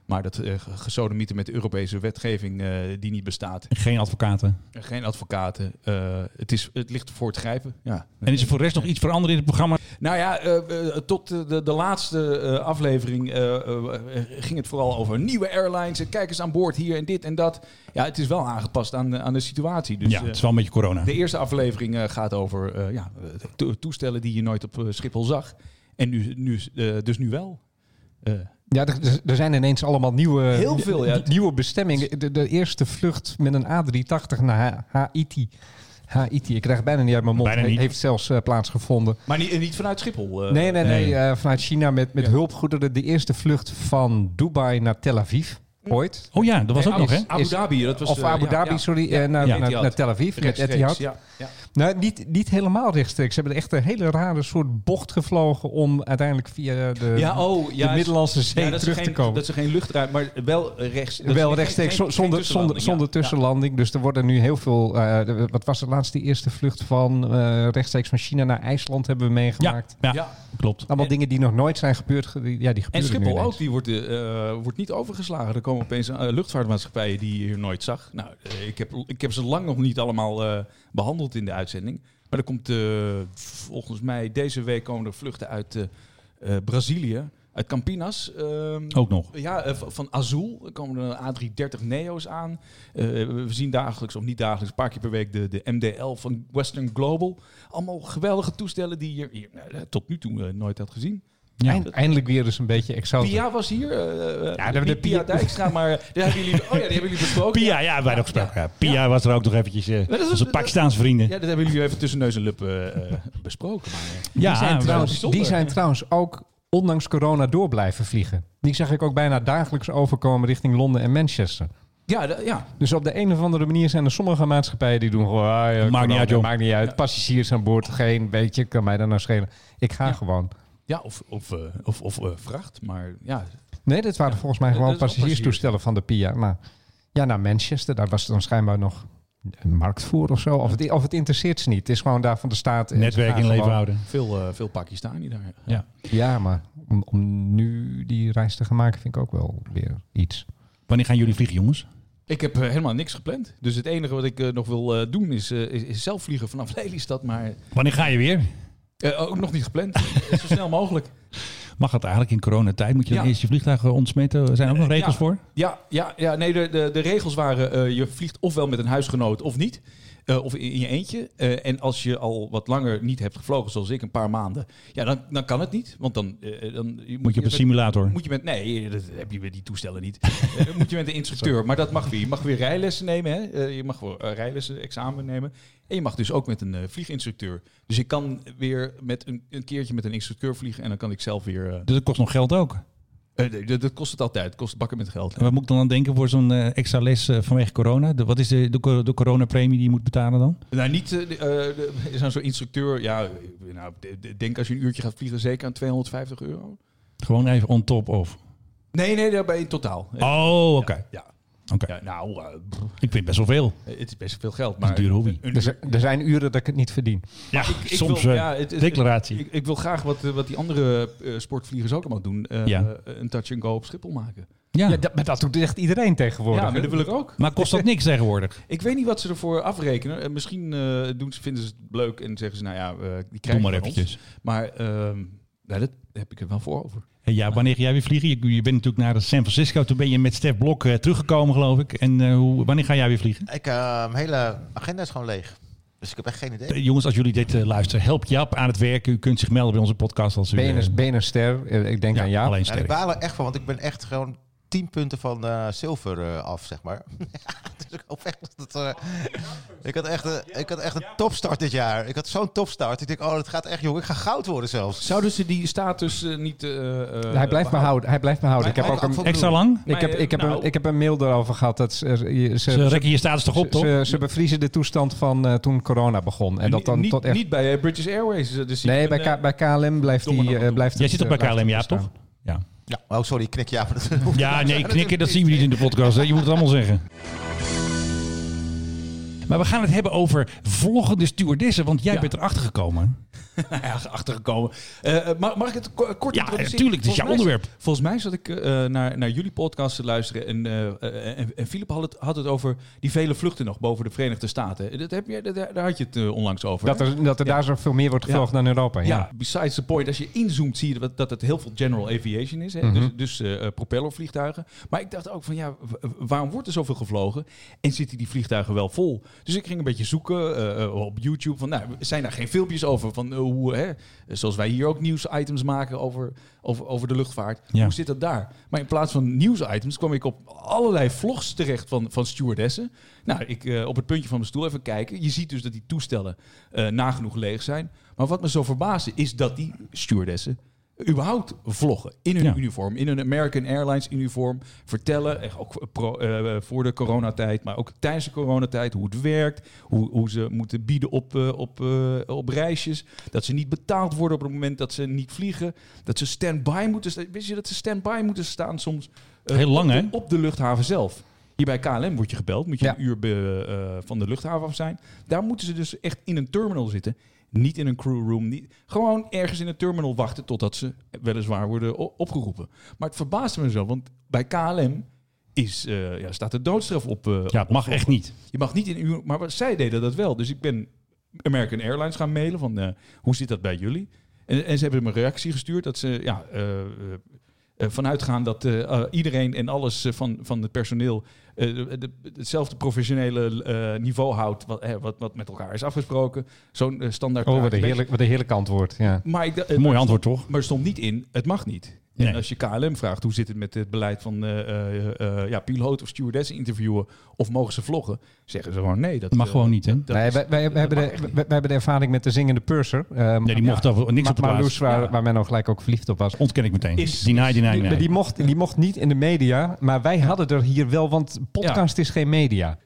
S1: Maar dat eh, ge- gesodemieten met de Europese wetgeving eh, die niet bestaat.
S2: Geen advocaten.
S1: En Geen advocaten. eh, het, is, het ligt voor het grijpen. Ja.
S2: En is er voor de rest nog iets veranderd in het programma?
S1: Nou ja, eh, eh, tot eh, de, de laatste eh, aflevering eh, eh, eh, ging het vooral over nieuwe airlines. en Kijkers aan boord hier en dit en dat. Ja, het is wel aangepast aan, eh, aan de situatie. Dus,
S2: ja,
S1: eh,
S2: het is wel een beetje corona.
S1: de eerste aflevering eh, gaat over eh, ja, to- toestellen die je nooit op eh, Schiphol zag. En nu, nu, eh, dus nu wel. Eh,
S3: Ja, er, er- er zijn ineens allemaal nieuwe,
S1: Heel veel, ja.
S3: n- nieuwe bestemmingen. De, de eerste vlucht met een A380 naar Ha- Haiti. Haiti, ik krijg het bijna niet uit mijn mond.
S2: Bijna
S3: He-
S2: niet.
S3: Heeft zelfs eh, plaatsgevonden.
S1: maar niet, niet vanuit Schiphol. eh.
S3: nee, nee, nee.
S2: nee.
S3: eh, vanuit China met, met hulpgoederen. De eerste vlucht van Dubai naar Tel Aviv. Ooit.
S2: Oh ja, dat was
S1: Nee,
S2: ook nog, hè?
S1: Abu
S3: eh, Is-
S1: Dhabi, dat was
S3: of
S1: eh,
S3: Abu
S1: ja,
S3: Dhabi,
S1: ja.
S3: sorry. eh, naar,
S2: Ja,
S3: naar,
S1: Etihad.
S3: naar Tel Aviv. Met
S1: Rechtstreeks,
S3: Etihad.
S1: ja, ja.
S3: Nou, niet, niet helemaal rechtstreeks. Ze hebben echt een hele rare soort bocht gevlogen om uiteindelijk via de,
S1: Ja, oh, ja,
S3: Eh, de Middellandse Zee
S1: ja, dat ze
S3: terug
S1: geen,
S3: te komen.
S1: Dat ze geen luchtruim, maar wel rechts. dat ze
S3: Wel
S1: geen-
S3: rechtstreeks,
S1: geen-
S3: zo- zonder,
S1: geen
S3: zonder,
S1: tussenlanding,
S3: zonder
S1: ja.
S3: tussenlanding. Dus er worden nu heel veel... eh, de- wat was de laatste eerste vlucht van eh, rechtstreeks van China naar IJsland hebben we
S2: Ja,
S3: meegemaakt.
S2: ja,
S1: Ja.
S2: klopt.
S3: Allemaal dingen die nog nooit zijn gebeurd. ge- die- Ja,
S1: En
S3: die gebeuren nu
S1: Schiphol
S3: ineens.
S1: ook, die wordt, eh, wordt niet overgeslagen. Er komen opeens eh, luchtvaartmaatschappijen die je hier nooit zag. Nou, eh, ik, heb, ik heb ze lang nog niet allemaal eh, behandeld in de uitzending. Maar er komt eh, volgens mij deze week komen er vluchten uit eh, eh, Brazilië, uit Campinas. ehm,
S2: Ook nog.
S1: ja, eh, van van Azul komen er A330 Neo's aan. Eh, we zien dagelijks, of niet dagelijks, een paar keer per week de, de MDL van Western Global. Allemaal geweldige toestellen die je hier, eh, tot nu toe eh, nooit had gezien.
S2: Ja.
S3: Eind- eindelijk weer eens een beetje exotisch.
S1: Pia was hier. eh
S3: Ja,
S1: ja,
S3: de- de
S1: Pia
S3: Pia-
S1: Dijkstra, maar eh, daar hebben jullie, oh ja, die hebben jullie besproken.
S2: Pia, ja, wij ook gesproken. Ja, Pia was er ook nog eventjes. eh,
S1: dat is-
S2: onze
S1: dat-
S2: Pakistaanse vrienden.
S1: Ja, dat hebben jullie even tussen neus en lippen eh, eh, besproken. Maar, eh,
S2: Ja,
S3: die, zijn
S2: wel
S3: trouwens,
S1: bijzonder.
S3: die zijn trouwens ook ondanks corona door blijven vliegen. Die zag ik ook bijna dagelijks overkomen richting Londen en Manchester.
S1: Ja, da- ja.
S3: Dus op de een of andere manier zijn er sommige maatschappijen die doen gewoon... Ah, ja,
S2: Maakt niet
S3: corona,
S2: uit, joh.
S3: Maakt niet uit.
S1: Ja.
S3: Passagiers aan boord, geen, weet je, kan mij dat nou schelen. Ik ga gewoon.
S1: ja of, of, eh, of, of eh, vracht. Maar ja,
S3: Nee, dit waren
S1: Ja,
S3: volgens mij
S1: dat
S3: gewoon
S1: is wel
S3: passagierstoestellen van de PIA. Maar ja, naar Manchester, daar was dan schijnbaar nog een markt voor of zo. Of het, of het interesseert ze niet. Het is gewoon daar van de staat. en ze
S2: Netwerk
S3: gaan
S2: in leven
S3: gewoon-
S2: houden.
S1: veel, eh veel Pakistani daar.
S2: Ja.
S3: Ja, maar om, om nu die reis te gaan maken vind ik ook wel weer iets.
S2: Wanneer gaan jullie vliegen, jongens?
S1: Ik heb eh, helemaal niks gepland. Dus het enige wat ik eh, nog wil eh, doen is, eh, is, is zelf vliegen vanaf <laughs> Lelystad. Maar
S2: Wanneer ga je weer?
S1: eh, ook nog niet gepland. Zo snel mogelijk.
S2: Mag dat eigenlijk in coronatijd? Moet je dan
S1: Ja.
S2: eerst je vliegtuig eh, ontsmetten? Er zijn ook nog regels
S1: ja.
S2: voor?
S1: Ja, ja, ja nee, de, de, de regels waren: eh, je vliegt ofwel met een huisgenoot of niet. Eh, of in, in je eentje. Eh, en als je al wat langer niet hebt gevlogen, zoals ik, een paar maanden. Ja, dan, dan kan het niet. Want dan, eh, dan
S2: Moet je op een
S1: met-
S2: simulator?
S1: Moet je met, nee, dat heb je met die toestellen niet. Eh, dan moet je met de instructeur. Maar dat mag weer. Je mag weer rijlessen nemen. Hè? Eh, je mag voor eh, rijlessen examen nemen. En je mag dus ook met een eh, vlieginstructeur. Dus ik kan weer met een, een keertje met een instructeur vliegen. En dan kan ik zelf weer... eh,
S2: Dus dat kost nog geld ook.
S1: eh, nee, dat- dat kost het altijd. Het kost bakken met geld.
S2: En wat moet ik dan aan denken voor zo'n eh, extra les eh, vanwege corona? De, wat is de, de, cor- de coronapremie die je moet betalen dan?
S1: Nou, niet eh, de- eh, de- <laughs> is aan zo'n instructeur. Ja, eh, nou, de- de- denk als je een uurtje gaat vliegen, zeker aan 250 euro.
S2: Gewoon even on top of.
S1: Nee, nee, daarbij in totaal. Eh,
S2: Oh, oké.
S1: Ja.
S2: Oké.
S1: Ja, nou, eh, pff,
S2: Ik vind het best wel veel.
S1: het is best veel geld.
S2: is
S1: Maar
S2: een dure hobby. <laughs>
S1: een-
S3: Er, zi- er zijn uren dat ik het niet verdien.
S2: Ja,
S1: ik- ik
S2: soms
S1: wil-
S2: eh,
S1: ja, het- het-
S2: declaratie.
S1: Ik, ik wil graag wat, eh, wat die andere eh, sportvliegers ook allemaal doen. eh,
S2: Ja.
S1: Een touch and go op Schiphol maken.
S2: ja.
S3: Ja, dat, maar dat doet echt iedereen tegenwoordig.
S1: Ja, maar dat wil ik ook.
S2: maar kost dat niks tegenwoordig?
S1: <laughs> Ik weet niet wat ze ervoor afrekenen. Eh, misschien eh, doen ze, vinden ze het leuk en zeggen ze, nou ja, eh, die
S2: Doe
S1: krijgen
S2: maar
S1: we van ons.
S2: eventjes.
S1: Maar ehm, nou, dat heb ik er wel voor over.
S2: Hey, ja, wanneer ga jij weer vliegen? Je, je bent natuurlijk naar San Francisco. Toen ben je met Stef Blok eh, teruggekomen, geloof ik. En eh, hoe, wanneer ga jij weer vliegen?
S4: Ik, eh, mijn hele agenda is gewoon leeg. Dus ik heb echt geen idee.
S2: Eh, jongens, als jullie dit eh, luisteren, help Jaap aan het werken. U kunt zich melden bij onze podcast als u... eh,
S3: Beners, Benerster, eh, ik denk
S2: ja,
S3: aan Jaap.
S2: alleen
S4: Ja, ik
S2: sterk.
S4: baal er echt van, want ik ben echt gewoon 10 punten van eh, zilver eh, af, zeg maar. <laughs> dus ik hoop echt dat het, eh, ik, had echt, een- ik had echt een topstart dit jaar. Ik had zo'n topstart. Ik denk, oh, het gaat echt, jong. Ik ga goud worden zelfs.
S1: Zouden ze die status eh, niet... eh, eh,
S3: hij blijft me houden. Hij blijft me houden. Ik heb
S4: Hij
S3: ook een,
S4: had voldoende.
S2: Extra lang?
S3: ik heb, ik heb,
S1: Nou.
S3: een, ik heb een mail erover gehad. Dat ze, je- ze,
S2: Ze
S3: ze,
S2: rekken je status toch op, toch?
S3: ze- ze bevriezen de toestand van eh, toen corona begon. En dat dan
S1: niet,
S3: tot echt...
S1: niet bij eh, British Airways. eh, Dus
S3: nee,
S1: ik
S3: bij,
S1: ben,
S3: K- bij KLM blijft
S1: domme
S3: die... eh,
S1: nacht.
S3: blijft
S2: Jij
S3: het,
S2: zit ook
S3: eh,
S2: bij KLM, ja,
S3: blijft het
S2: toch? Ja.
S4: Oh, sorry, ik knik
S1: <laughs>
S4: ja. Maar dat-
S2: Ja, nee, knikken, dat zien we niet in de podcast. hè. Je moet het allemaal zeggen. Maar we gaan het hebben over vloggende stewardessen, want jij
S1: Ja.
S2: bent erachter gekomen.
S1: ja, achtergekomen. Eh, eh, mag, mag ik het ko- kort
S2: Ja,
S1: introduceren?
S2: natuurlijk, het is jouw
S1: Volgens mij-
S2: onderwerp.
S1: Volgens mij zat ik eh, naar, naar jullie podcast te luisteren. En, eh, eh, en, en Philip had het, had het over die vele vluchten nog boven de Verenigde Staten. Dat heb je, dat- daar had je het eh, onlangs over.
S3: Dat
S1: hè?
S3: er, dat er daar zoveel meer wordt gevlogen dan Europa. Ja.
S1: ja. besides the point. Als je inzoomt, zie je dat, dat het heel veel general aviation is. Hè? Dus, dus eh, eh, propellervliegtuigen. Maar ik dacht ook van, ja, w- w- waarom wordt er zoveel gevlogen? En zitten die vliegtuigen wel vol? Dus ik ging een beetje zoeken eh, eh, op YouTube. Van, nou, zijn daar geen filmpjes over? Van, eh, hoe, hè? Zoals wij hier ook nieuwsitems maken over, over, over de luchtvaart.
S2: Ja.
S1: Hoe zit dat daar? Maar in plaats van nieuwsitems kwam ik op allerlei vlogs terecht van, van stewardessen. Nou, ik eh, op het puntje van mijn stoel even kijken. Je ziet dus dat die toestellen eh, nagenoeg leeg zijn. Maar wat me zo verbaasde is dat die stewardessen überhaupt vloggen in hun
S2: Ja.
S1: uniform, in hun American Airlines uniform, vertellen echt ook pro- eh, voor de coronatijd, maar ook tijdens de coronatijd hoe het werkt, hoe, hoe ze moeten bieden op, eh, op, eh, op reisjes, dat ze niet betaald worden op het moment dat ze niet vliegen, dat ze stand-by moeten staan. Wist je dat ze stand-by moeten staan soms eh,
S2: Heel lang,
S1: op,
S2: hè?
S1: de, op de luchthaven zelf? Hier bij KLM word je gebeld, moet je
S3: Ja.
S1: een uur be- eh, van de luchthaven af zijn. Daar moeten ze dus echt in een terminal zitten. Niet in een crewroom. Niet, gewoon ergens in een terminal wachten totdat ze weliswaar worden o- opgeroepen. Maar het verbaasde me zo, want bij KLM is, eh, ja, staat de doodstraf op. eh,
S2: Ja, het mag echt niet.
S1: je mag niet in uw... Maar wat- zij deden dat wel. Dus ik ben American Airlines gaan mailen van eh, hoe zit dat bij jullie? En, en ze hebben me een reactie gestuurd dat ze ja, eh, eh, eh, vanuit gaan dat eh, eh, iedereen en alles eh, van, van het personeel eh, de- de- hetzelfde professionele eh, niveau houdt wat, hè, wat, wat met elkaar is afgesproken. Zo'n eh, standaard...
S3: Oh, wat
S1: praatje.
S3: een heerlijk, wat een heerlijk antwoord. Ja.
S1: Maar ik, dacht- eh,
S2: Mooi antwoord, toch?
S1: maar er stond niet in, het mag niet.
S2: Nee.
S1: En als je KLM vraagt hoe zit het met het beleid van eh, eh, eh, ja, piloot of stewardess interviewen of mogen ze vloggen, zeggen ze gewoon nee. Dat
S2: Mag
S1: eh,
S2: gewoon niet, hè?
S1: dat- dat
S3: nee,
S1: is-
S3: wij, wij,
S1: dat
S3: hebben
S1: mag
S2: Oh,
S3: de,
S1: echt
S3: wij,
S1: niet.
S3: wij hebben de ervaring met de zingende purser. Ehm,
S2: Nee, die mocht daar niks
S3: Ma-
S2: op de
S3: Marloes,
S2: plaats.
S3: waar,
S1: Ja.
S3: waar men nog gelijk ook verliefd op was.
S2: Ontken ik meteen.
S1: Is-
S2: die naai, die naai,
S3: Die,
S2: die naai.
S3: maar die, mocht, die mocht niet in de media, maar wij hadden er hier wel, want podcast is geen media.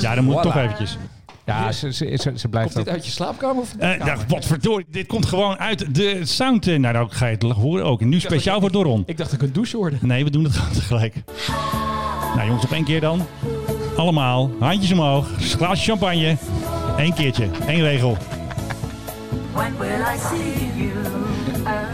S2: Ja, dan moet ik
S3: Voilà.
S2: toch eventjes.
S3: Ja, ze, ze, ze, ze
S1: Komt
S3: blijft
S1: dit
S3: ook.
S1: uit je slaapkamer? Of
S2: Eh, ja, wat verdorie, dit komt gewoon uit de sound. eh, Nou, dan ga je het horen ook. En nu speciaal voor Doron.
S1: ik dacht dat ik een douche hoorde.
S2: Nee, we doen het <laughs> gewoon tegelijk. Nou jongens, op één keer dan. Allemaal, handjes omhoog, glaasje champagne. Eén keertje, één regel.
S7: When will I see you again?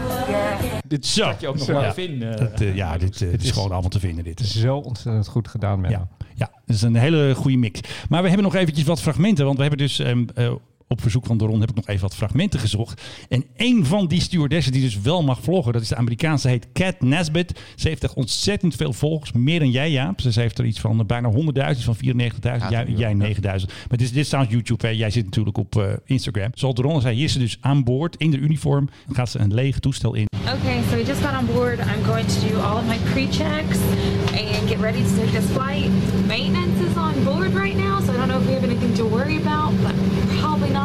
S1: Dit
S2: Zo.
S1: zat je ook nog
S2: Zo.
S1: maar
S2: Ja.
S1: even in. eh.
S2: Dat, eh, ja, dit, eh, dit is
S3: is-
S2: gewoon allemaal te vinden. Dit.
S3: Zo ontzettend goed gedaan, Menno.
S2: Ja, ja, dat is een hele goede mix. Maar we hebben nog eventjes wat fragmenten. Want we hebben dus ehm, eh, op verzoek van Doron heb ik nog even wat fragmenten gezocht. En één van die stewardessen die dus wel mag vloggen, dat is de Amerikaanse, heet Cat Nesbitt. Ze heeft echt ontzettend veel volgers. Meer dan jij, Jaap. Dus Ze heeft er iets van eh, bijna 100.000, van 94.000. jij, jij 9.000. Maar dit is, dit staat op YouTube. Hè. Jij zit natuurlijk op eh, Instagram. Zoals Doron al zei, hier is ze dus aan boord in de uniform. Dan gaat ze een leeg toestel in.
S9: Okay, so we just got on board. I'm going to do all of my pre-checks and get ready to take this flight. Maintenance is on board right now, so I don't know if we have anything to worry about, but probably not.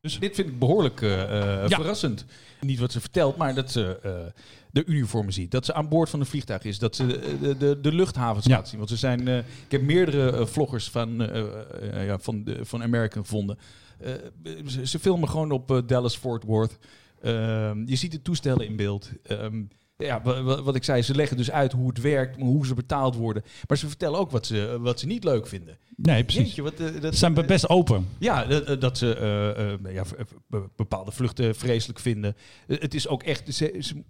S1: Dit vind ik behoorlijk eh, eh,
S2: Ja.
S1: verrassend. Niet wat ze vertelt, maar dat ze eh, de uniformen ziet. Dat ze aan boord van een vliegtuig is. Dat ze de, de, de, de luchthavens
S2: Ja.
S1: gaat zien. Want ze zijn, eh, ik heb meerdere eh, vloggers van, eh, eh, ja, van, de, van American gevonden. Eh, ze, ze filmen gewoon op eh, Dallas Fort Worth. Ehm, je ziet de toestellen in beeld. Ehm, ja, wa- wa- wat ik zei, ze leggen dus uit hoe het werkt, hoe ze betaald worden. Maar ze vertellen ook wat ze, wat ze niet leuk vinden.
S2: Nee, precies.
S1: Jeetje, wat, eh, dat,
S2: Ze zijn best open.
S1: ja, dat, eh, dat ze eh, eh, ja, v- eh, be- bepaalde vluchten vreselijk vinden. Eh, Het is ook echt. Ze, ze-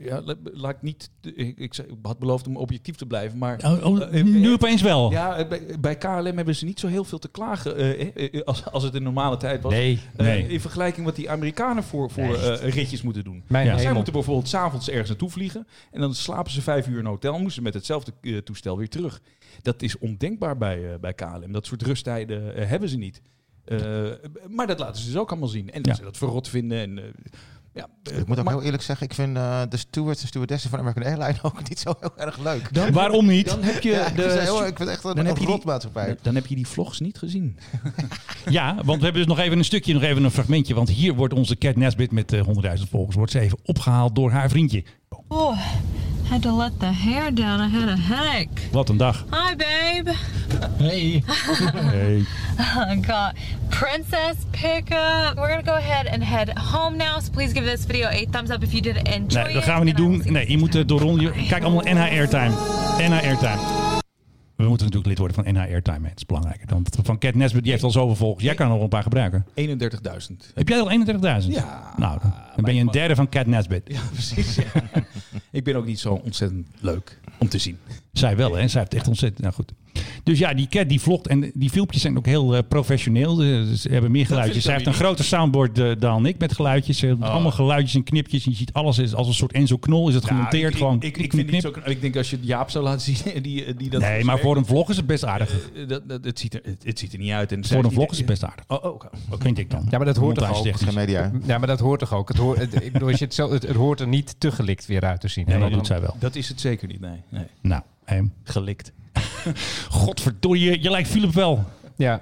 S1: ja, la- laat ik niet. Ik, ik zei- ik had beloofd om objectief te blijven, maar.
S2: Oh, oh,
S1: Eh, eh,
S2: nu opeens wel.
S1: Ja, eh, bij, bij KLM hebben ze niet zo heel veel te klagen eh, eh, eh, als, als het in normale tijd was.
S3: Nee.
S1: Eh,
S2: nee.
S1: in vergelijking wat die Amerikanen voor, voor eh, ritjes moeten doen.
S3: Mijn
S2: Ja.
S1: Zij
S3: hemel.
S1: moeten bijvoorbeeld s'avonds ergens naartoe vliegen. En dan slapen ze vijf uur in een hotel. Moesten ze met hetzelfde eh, toestel weer terug. Dat is ondenkbaar bij, eh, bij KLM. Dat soort rusttijden eh, hebben ze niet. Eh, maar dat laten ze dus ook allemaal zien. En dat
S2: Ja.
S1: ze dat verrot vinden. En, eh, ja, eh,
S4: Ik Dus moet ook
S1: maar
S4: heel eerlijk zeggen, ik vind eh, de stewards en stewardessen van American Airlines <laughs> ook niet zo heel erg leuk.
S2: Waarom niet?
S1: dan heb je,
S4: Ja, ik,
S1: de,
S4: vind ze heel, ik vind echt een,
S1: dan
S4: een
S1: heb je die-
S4: rotmaatschappij.
S1: dan heb je die vlogs niet gezien.
S2: Ja, want we hebben dus nog even een stukje, nog even een fragmentje. Want hier wordt onze Cat Nesbit met eh, 100.000 volgers wordt ze even opgehaald door haar vriendje.
S9: Oh, had to let the hair down. I had a headache.
S2: Wat een dag. Eh,
S9: Hi, babe.
S2: Hey.
S9: I <laughs> got princess pickup. We're gonna go ahead and head home now. So please give this video a thumbs up if you did enjoy
S2: Nee, dat gaan we niet doen. Nee, je moet eh, door Ron. je- Kijk allemaal NHR Time. NHR Time. We moeten natuurlijk lid worden van NHR Time. hè. Het is belangrijker. Dan van Cat Nesbit, die heeft al zoveel volgers. Jij kan er nog een paar gebruiken.
S1: 31.000.
S2: Heb jij al 31.000?
S1: Ja.
S2: Nou, dan- dan ben je een derde van Cat Nesbit.
S1: Ja, precies. ja. ik ben ook niet zo ontzettend leuk om te zien.
S2: Zij wel, hè? Zij heeft echt ontzettend. Nou goed. Dus ja, die cat die vlogt en die filmpjes zijn ook heel eh, professioneel. Eh, Ze hebben meer geluidjes.
S1: vind
S2: Zij
S1: ik Oh.
S2: heeft
S1: dan
S2: een groter soundboard eh, dan ik met geluidjes. Ze hebben Allemaal geluidjes en knipjes. Je ziet alles is als een soort Enzo Knol. Is het gemonteerd
S1: ik,
S2: gewoon?
S1: Ik, ik, ik, vind niet zo, ik denk als je Jaap zou laten <laughs> zien. Die, eh, die dat
S2: nee, maar voor een vlog is het best aardig.
S1: Eh, dat, dat, het, ziet er, het, het ziet er niet uit. En zij
S2: voor een
S1: is niet-
S2: vlog is het best aardig.
S1: Oh, oh, oké.
S2: Vind ik dan.
S3: Ja, maar dat hoort toch ook?
S2: Montagetechnisch.
S4: Geen media.
S3: Ja, maar dat hoort toch ook? Het, hoort, het, ik bedoel, als je het, zo, het, het hoort er niet te gelikt weer uit te zien.
S2: Ja,
S3: hè?
S2: dat
S3: Dan-
S2: doet zij wel.
S1: Dat is het zeker niet, nee. nee.
S2: Nou, ehm,
S1: Gelikt.
S2: <laughs> godverdorie, je lijkt Philip wel.
S3: Ja.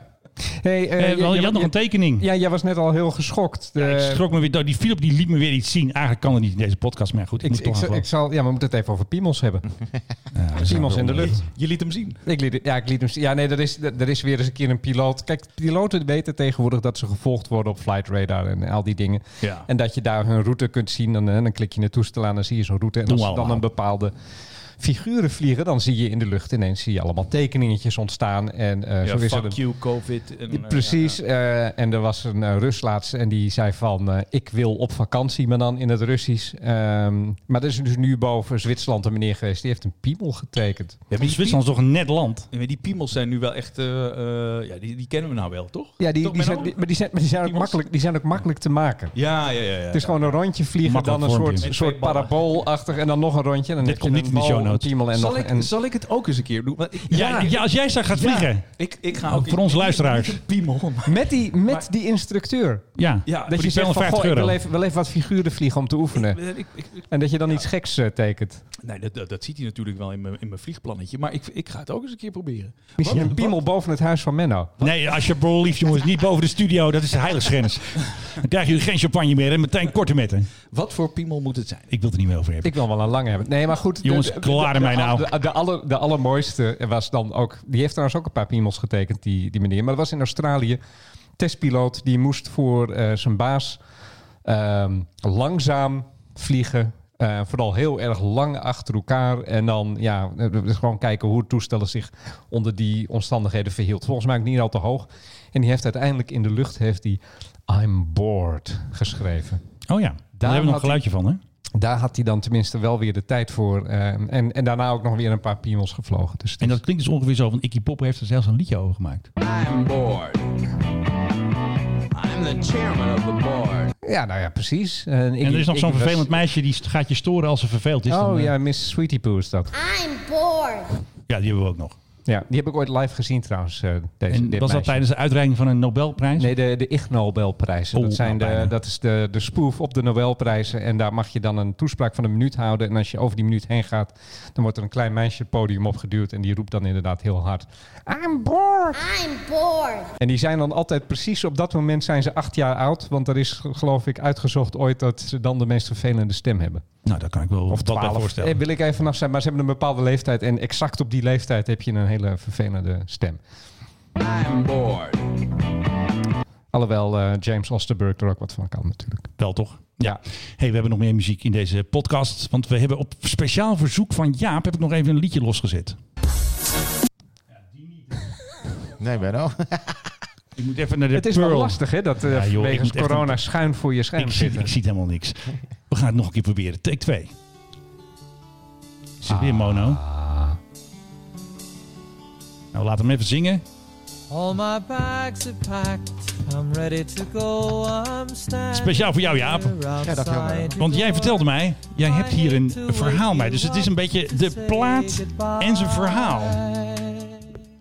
S3: Hey, eh,
S2: Eh,
S3: jij-
S2: wel, je
S3: jij-
S2: had nog een tekening.
S3: Ja, jij was net al heel geschokt.
S2: Ja, ik
S3: Eh,
S2: schrok me weer dood. Die Philip die liet me weer iets zien. Eigenlijk kan het niet in deze podcast, maar goed. Ik,
S3: ik,
S2: moet
S3: ik,
S2: toch
S3: zal- ik zal, ja, we moeten het even over piemels hebben.
S2: <laughs> Ja, we zijn
S3: Piemels
S2: wel
S3: in de
S2: onder-
S3: lucht.
S1: Je liet hem zien.
S3: Ik liet, ja, ik liet hem zien. Ja, nee, er is, er er is weer eens een keer een piloot. Kijk, piloten weten tegenwoordig dat ze gevolgd worden op flight radar en al die dingen.
S1: Ja.
S3: En dat je daar hun route kunt zien. Dan, eh, dan klik je in het toestel aan, dan zie je zo'n route. En
S2: Doen
S3: als
S2: we
S3: er dan
S2: allemaal.
S3: een bepaalde figuren vliegen, dan zie je in de lucht ineens zie je allemaal tekeningetjes ontstaan. En eh, zo is er
S1: fuck
S3: een-
S1: you, COVID. En,
S3: Ja,
S1: eh,
S3: Precies.
S1: ja,
S3: eh, en er was een eh, Rus laatst en die zei van... eh, ik wil op vakantie, maar dan in het Russisch. Ehm, maar er is dus nu boven Zwitserland een meneer geweest... die heeft een piemel getekend.
S1: ja.
S2: Want Zwitserland is toch een net land?
S1: Ja, maar die piemels zijn nu wel echt... eh, eh, ja, die, die kennen we nou wel, toch?
S3: Ja, die,
S1: Toch,
S3: die, zijn,
S1: Menno?
S3: die- maar die, zijn, maar die, zijn ook
S1: Piemels?
S3: makkelijk, die zijn ook makkelijk te maken.
S1: Ja, ja, ja. ja.
S3: Het is gewoon een rondje vliegen,
S2: Makkelijk
S3: dan een
S2: vormpje.
S3: soort,
S1: Met
S3: soort
S1: twee ballen.
S3: paraboolachtig en dan nog een rondje. En dan
S2: Dit
S3: heb
S2: komt
S3: je een
S2: niet in de
S3: bal
S2: show
S3: een
S2: notes.
S3: piemel en
S1: zal,
S3: nog
S1: ik,
S3: een...
S1: zal ik het ook eens een keer doen? Want ik-
S2: Ja, ja, als jij straks gaat
S1: Ja,
S2: vliegen.
S1: ik, ik ga
S2: Oh,
S1: ook
S2: voor ons luisteraars.
S1: Niet een piemel, <laughs> maar-
S3: Met die, met
S1: Maar-
S3: die instructeur.
S2: Ja,
S1: Ja,
S2: voor
S1: dat
S3: Dat je
S2: die
S3: zegt van,
S2: 250
S3: goh, ik
S2: euro.
S3: wil even, wil even wat figuren vliegen om te oefenen.
S1: Eh, ik- ik- ik-
S3: En dat je dan iets geks eh, tekent.
S1: nee, dat, dat, dat ziet hij natuurlijk wel in mijn, in mijn vliegplannetje. Maar ik, ik ga het ook eens een keer proberen.
S3: Misschien
S1: Wat-
S3: een piemel boven het huis van Menno.
S2: Nee, als je bro lief, jongens, niet boven de studio. Dat is de <laughs> heiligschennis. Dan krijgen jullie geen champagne meer en meteen korte metten.
S1: Wat voor piemel moet het zijn?
S2: Ik wil het er niet meer over hebben.
S3: Ik wil wel een lange hebben. Nee, maar goed. de-
S2: Jongens,
S3: de- de-
S2: klaar
S3: de-
S2: mij
S3: de-
S2: nou.
S3: De, de, aller, de allermooiste was dan ook... Die heeft trouwens ook een paar piemels getekend, die, die meneer. Maar dat was in Australië. Testpiloot, die moest voor eh, zijn baas ehm, langzaam vliegen. Eh, vooral heel erg lang achter elkaar. En dan ja, eh, dus gewoon kijken hoe het toestel zich onder die omstandigheden verhield. Volgens mij ook niet al te hoog. En die heeft uiteindelijk in de lucht heeft die I'm bored geschreven.
S2: Oh ja, daar hebben we nog een
S3: had
S2: geluidje van, hè?
S3: Daar had hij dan tenminste wel weer de tijd voor. eh, en, en daarna ook nog weer een paar piemels gevlogen. Dus
S2: En dat klinkt dus ongeveer zo, want Iggy Pop heeft er zelfs een liedje over gemaakt.
S10: I'm bored. I'm the chairman of the board.
S3: Ja, nou ja, precies. En, ik-
S2: En er is nog
S3: ik
S2: zo'n
S3: was-
S2: vervelend meisje die st- gaat je storen als ze verveeld is. dan,
S3: Oh
S2: eh,
S3: ja, Miss Sweetie Poo is dat.
S7: I'm bored.
S2: ja, die hebben we ook nog.
S3: Ja, die heb ik ooit live gezien trouwens. eh, deze,
S2: En
S3: dit
S2: was dat
S3: meisje.
S2: tijdens de uitreiking van een Nobelprijs?
S3: Nee, de, de Ig Nobelprijzen.
S2: Oh,
S3: dat, zijn
S2: nou,
S3: de,
S2: bijna.
S3: dat is de, de spoof op de Nobelprijzen. En daar mag je dan een toespraak van een minuut houden. En als je over die minuut heen gaat, dan wordt er een klein meisje het podium opgeduwd. En die roept dan inderdaad heel hard: I'm bored!
S7: I'm bored.
S3: En die zijn dan altijd precies op dat moment zijn ze acht jaar oud. Want er is g- geloof ik uitgezocht ooit dat ze dan de meest vervelende stem hebben.
S2: Nou, daar kan ik wel wat bij voorstellen.
S3: Eh, wil ik even vanaf zijn, maar ze hebben een bepaalde leeftijd. En exact op die leeftijd heb je een hele vervelende stem.
S10: I'm bored.
S3: Alhoewel eh, James Osterberg er ook wat van kan natuurlijk.
S2: Wel toch?
S3: Ja.
S2: hey, we hebben nog meer muziek in deze podcast. Want we hebben op speciaal verzoek van Jaap heb ik nog even een liedje losgezet.
S4: Nee, Benno.
S2: Ik moet even naar de
S3: het is
S2: Pearl.
S3: wel lastig hè, dat eh
S2: Ja, joh, ik
S3: wegens
S2: moet echt
S3: corona schuin voor je scherm
S2: Ik zie,
S3: zitten.
S2: ik zie helemaal niks. We gaan het nog een keer proberen. Take 2. Is het weer mono? Nou, laat hem even zingen.
S10: All my bags are packed. I'm ready to go. I'm standing
S2: Speciaal voor jou, Jaap.
S4: Ja, dat helemaal.
S2: Want jij vertelde mij, jij hebt hier een verhaal bij. Dus het is een beetje de plaat en zijn verhaal.
S4: <laughs>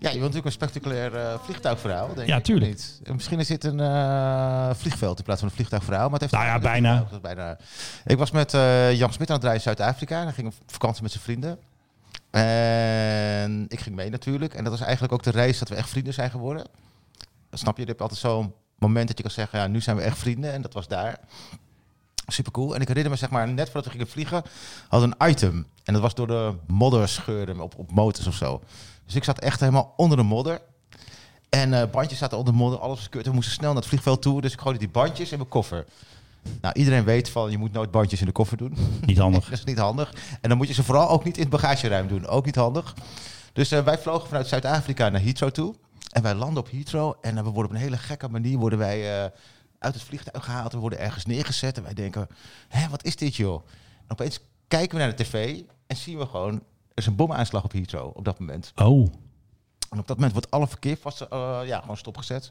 S4: Ja, je wilt natuurlijk een spectaculair eh, vliegtuigverhaal, denk
S2: Ja,
S4: ik.
S2: tuurlijk.
S4: of niet? En Misschien is dit een eh, vliegveld in plaats van een vliegtuigverhaal. Maar het heeft
S2: Nou ja,
S4: het
S2: bijna.
S4: vliegtuig, dat is bijna. Ik was met eh, Jan Smit aan het reizen Zuid-Afrika. En hij ging op vakantie met zijn vrienden. En ik ging mee natuurlijk. En dat was eigenlijk ook de reis dat we echt vrienden zijn geworden. Snap je? Je hebt altijd zo'n moment dat je kan zeggen, ja, nu zijn we echt vrienden. En dat was daar. Supercool. En ik herinner me, zeg maar, net voordat we gingen vliegen, hadden we een item. En dat was door de modder scheuren op, op motors of zo. Dus ik zat echt helemaal onder de modder. En eh, bandjes zaten onder de modder, alles was kut. We moesten snel naar het vliegveld toe, dus ik gooide die bandjes in mijn koffer. Nou, iedereen weet van, je moet nooit bandjes in de koffer doen.
S2: Niet handig.
S4: <laughs> Dat is niet handig. En dan moet je ze vooral ook niet in het bagageruim doen. Ook niet handig. Dus eh, wij vlogen vanuit Zuid-Afrika naar Heathrow toe. En wij landen op Heathrow. En eh, we worden op een hele gekke manier worden wij, eh, uit het vliegtuig gehaald. We worden ergens neergezet. En wij denken, hè, wat is dit joh? En opeens kijken we naar de tv en zien we gewoon... Er is een bomaanslag op Heathrow op dat moment.
S2: Oh,
S4: En op dat moment wordt alle verkeer vast, eh, ja, gewoon stopgezet.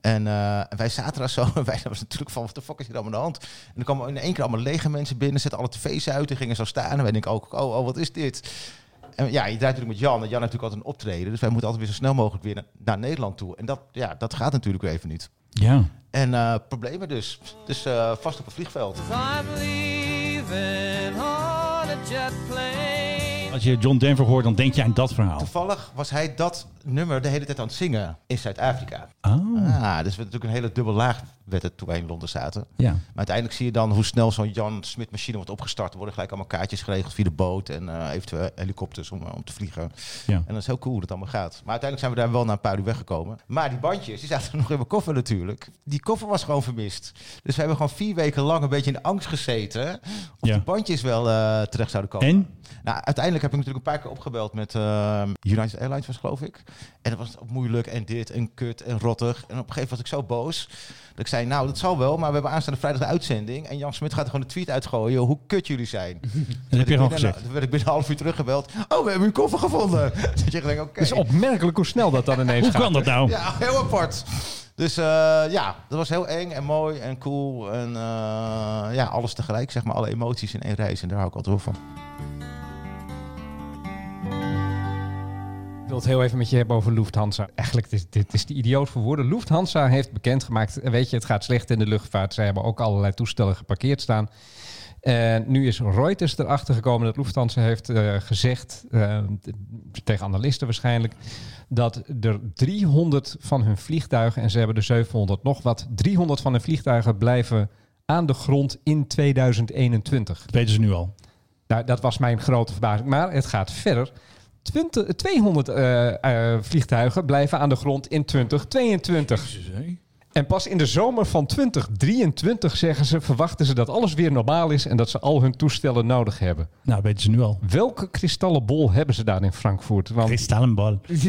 S4: En eh, en wij zaten daar zo. <laughs> En wij was natuurlijk van, wat de fuck is hier allemaal aan de hand? En dan kwamen in één keer allemaal lege mensen binnen, zetten alle tv's uit en gingen zo staan. En wij denken ook, oh, oh, wat is dit? En ja, je draait natuurlijk met Jan. En Jan heeft natuurlijk altijd een optreden. Dus wij moeten altijd weer zo snel mogelijk weer na- naar Nederland toe. En dat, ja, dat gaat natuurlijk weer even niet.
S2: ja.
S4: En eh, problemen dus. Dus eh, vast op een vliegveld.
S10: I'm leaving on a jet plane.
S2: Als je John Denver hoort, dan denk je aan dat verhaal.
S4: Toevallig was hij dat nummer de hele tijd aan het zingen in Zuid-Afrika.
S2: Oh,
S4: Ah, dus we natuurlijk een hele dubbel laag werd het toen wij in Londen zaten.
S2: ja.
S4: Maar uiteindelijk zie je dan hoe snel zo'n Jan Smit machine wordt opgestart. Er worden gelijk allemaal kaartjes geregeld via de boot en eh, eventueel helikopters om, eh, om te vliegen.
S2: Ja.
S4: En dat is heel cool hoe dat allemaal gaat. Maar uiteindelijk zijn we daar wel na een paar uur weggekomen. Maar die bandjes, die zaten <laughs> nog in mijn koffer natuurlijk. Die koffer was gewoon vermist. Dus we hebben gewoon vier weken lang een beetje in angst gezeten. Of
S2: Ja.
S4: die bandjes wel eh, terecht zouden komen.
S2: En?
S4: Nou, uiteindelijk heb ik natuurlijk een paar keer opgebeld met eh, United Airlines, was het, geloof ik. En dat was moeilijk en dit en kut en rottig. En op een gegeven moment was ik zo boos. Dat ik zei, nou, dat zal wel, maar we hebben aanstaande vrijdag de uitzending. En Jan Smit gaat er gewoon een tweet uitgooien hoe kut jullie zijn.
S2: <laughs> Dat heb je gewoon
S4: Binnen-
S2: gezegd.
S4: Toen werd ik binnen een half uur teruggebeld. Oh, we hebben uw koffer gevonden. <laughs> dat je denkt, oké.
S1: Dus
S3: Het is opmerkelijk hoe snel dat dan ineens
S2: Hoe <laughs>
S3: gaat.
S2: kan dat nou?
S4: Ja, heel apart. Dus eh, ja, dat was heel eng en mooi en cool. En eh, ja, alles tegelijk, zeg maar. Alle emoties in één reis. En daar hou ik altijd wel van.
S3: wil het heel even met je hebben over Lufthansa. Eigenlijk, dit, dit is de idioot voor woorden. Lufthansa heeft bekendgemaakt, eh, weet je, het gaat slecht in de luchtvaart. Zij hebben ook allerlei toestellen geparkeerd staan. En nu is Reuters erachter gekomen dat Lufthansa heeft eh, gezegd, eh, t- tegen analisten waarschijnlijk, dat er 300 van hun vliegtuigen, en ze hebben er 700 nog wat, 300 van hun vliegtuigen blijven aan de grond in 2021.
S2: Dat weten ze nu al.
S3: Nou, dat was mijn grote verbazing. Maar het gaat verder. 20, 200 eh, eh, vliegtuigen blijven aan de grond in 2022. En pas in de zomer van 2023 zeggen ze, verwachten ze dat alles weer normaal is en dat ze al hun toestellen nodig hebben.
S2: Nou, dat weten ze nu al.
S3: Welke kristallenbol hebben ze daar in Frankfurt? Want,
S2: Kristallenbal.
S3: <laughs>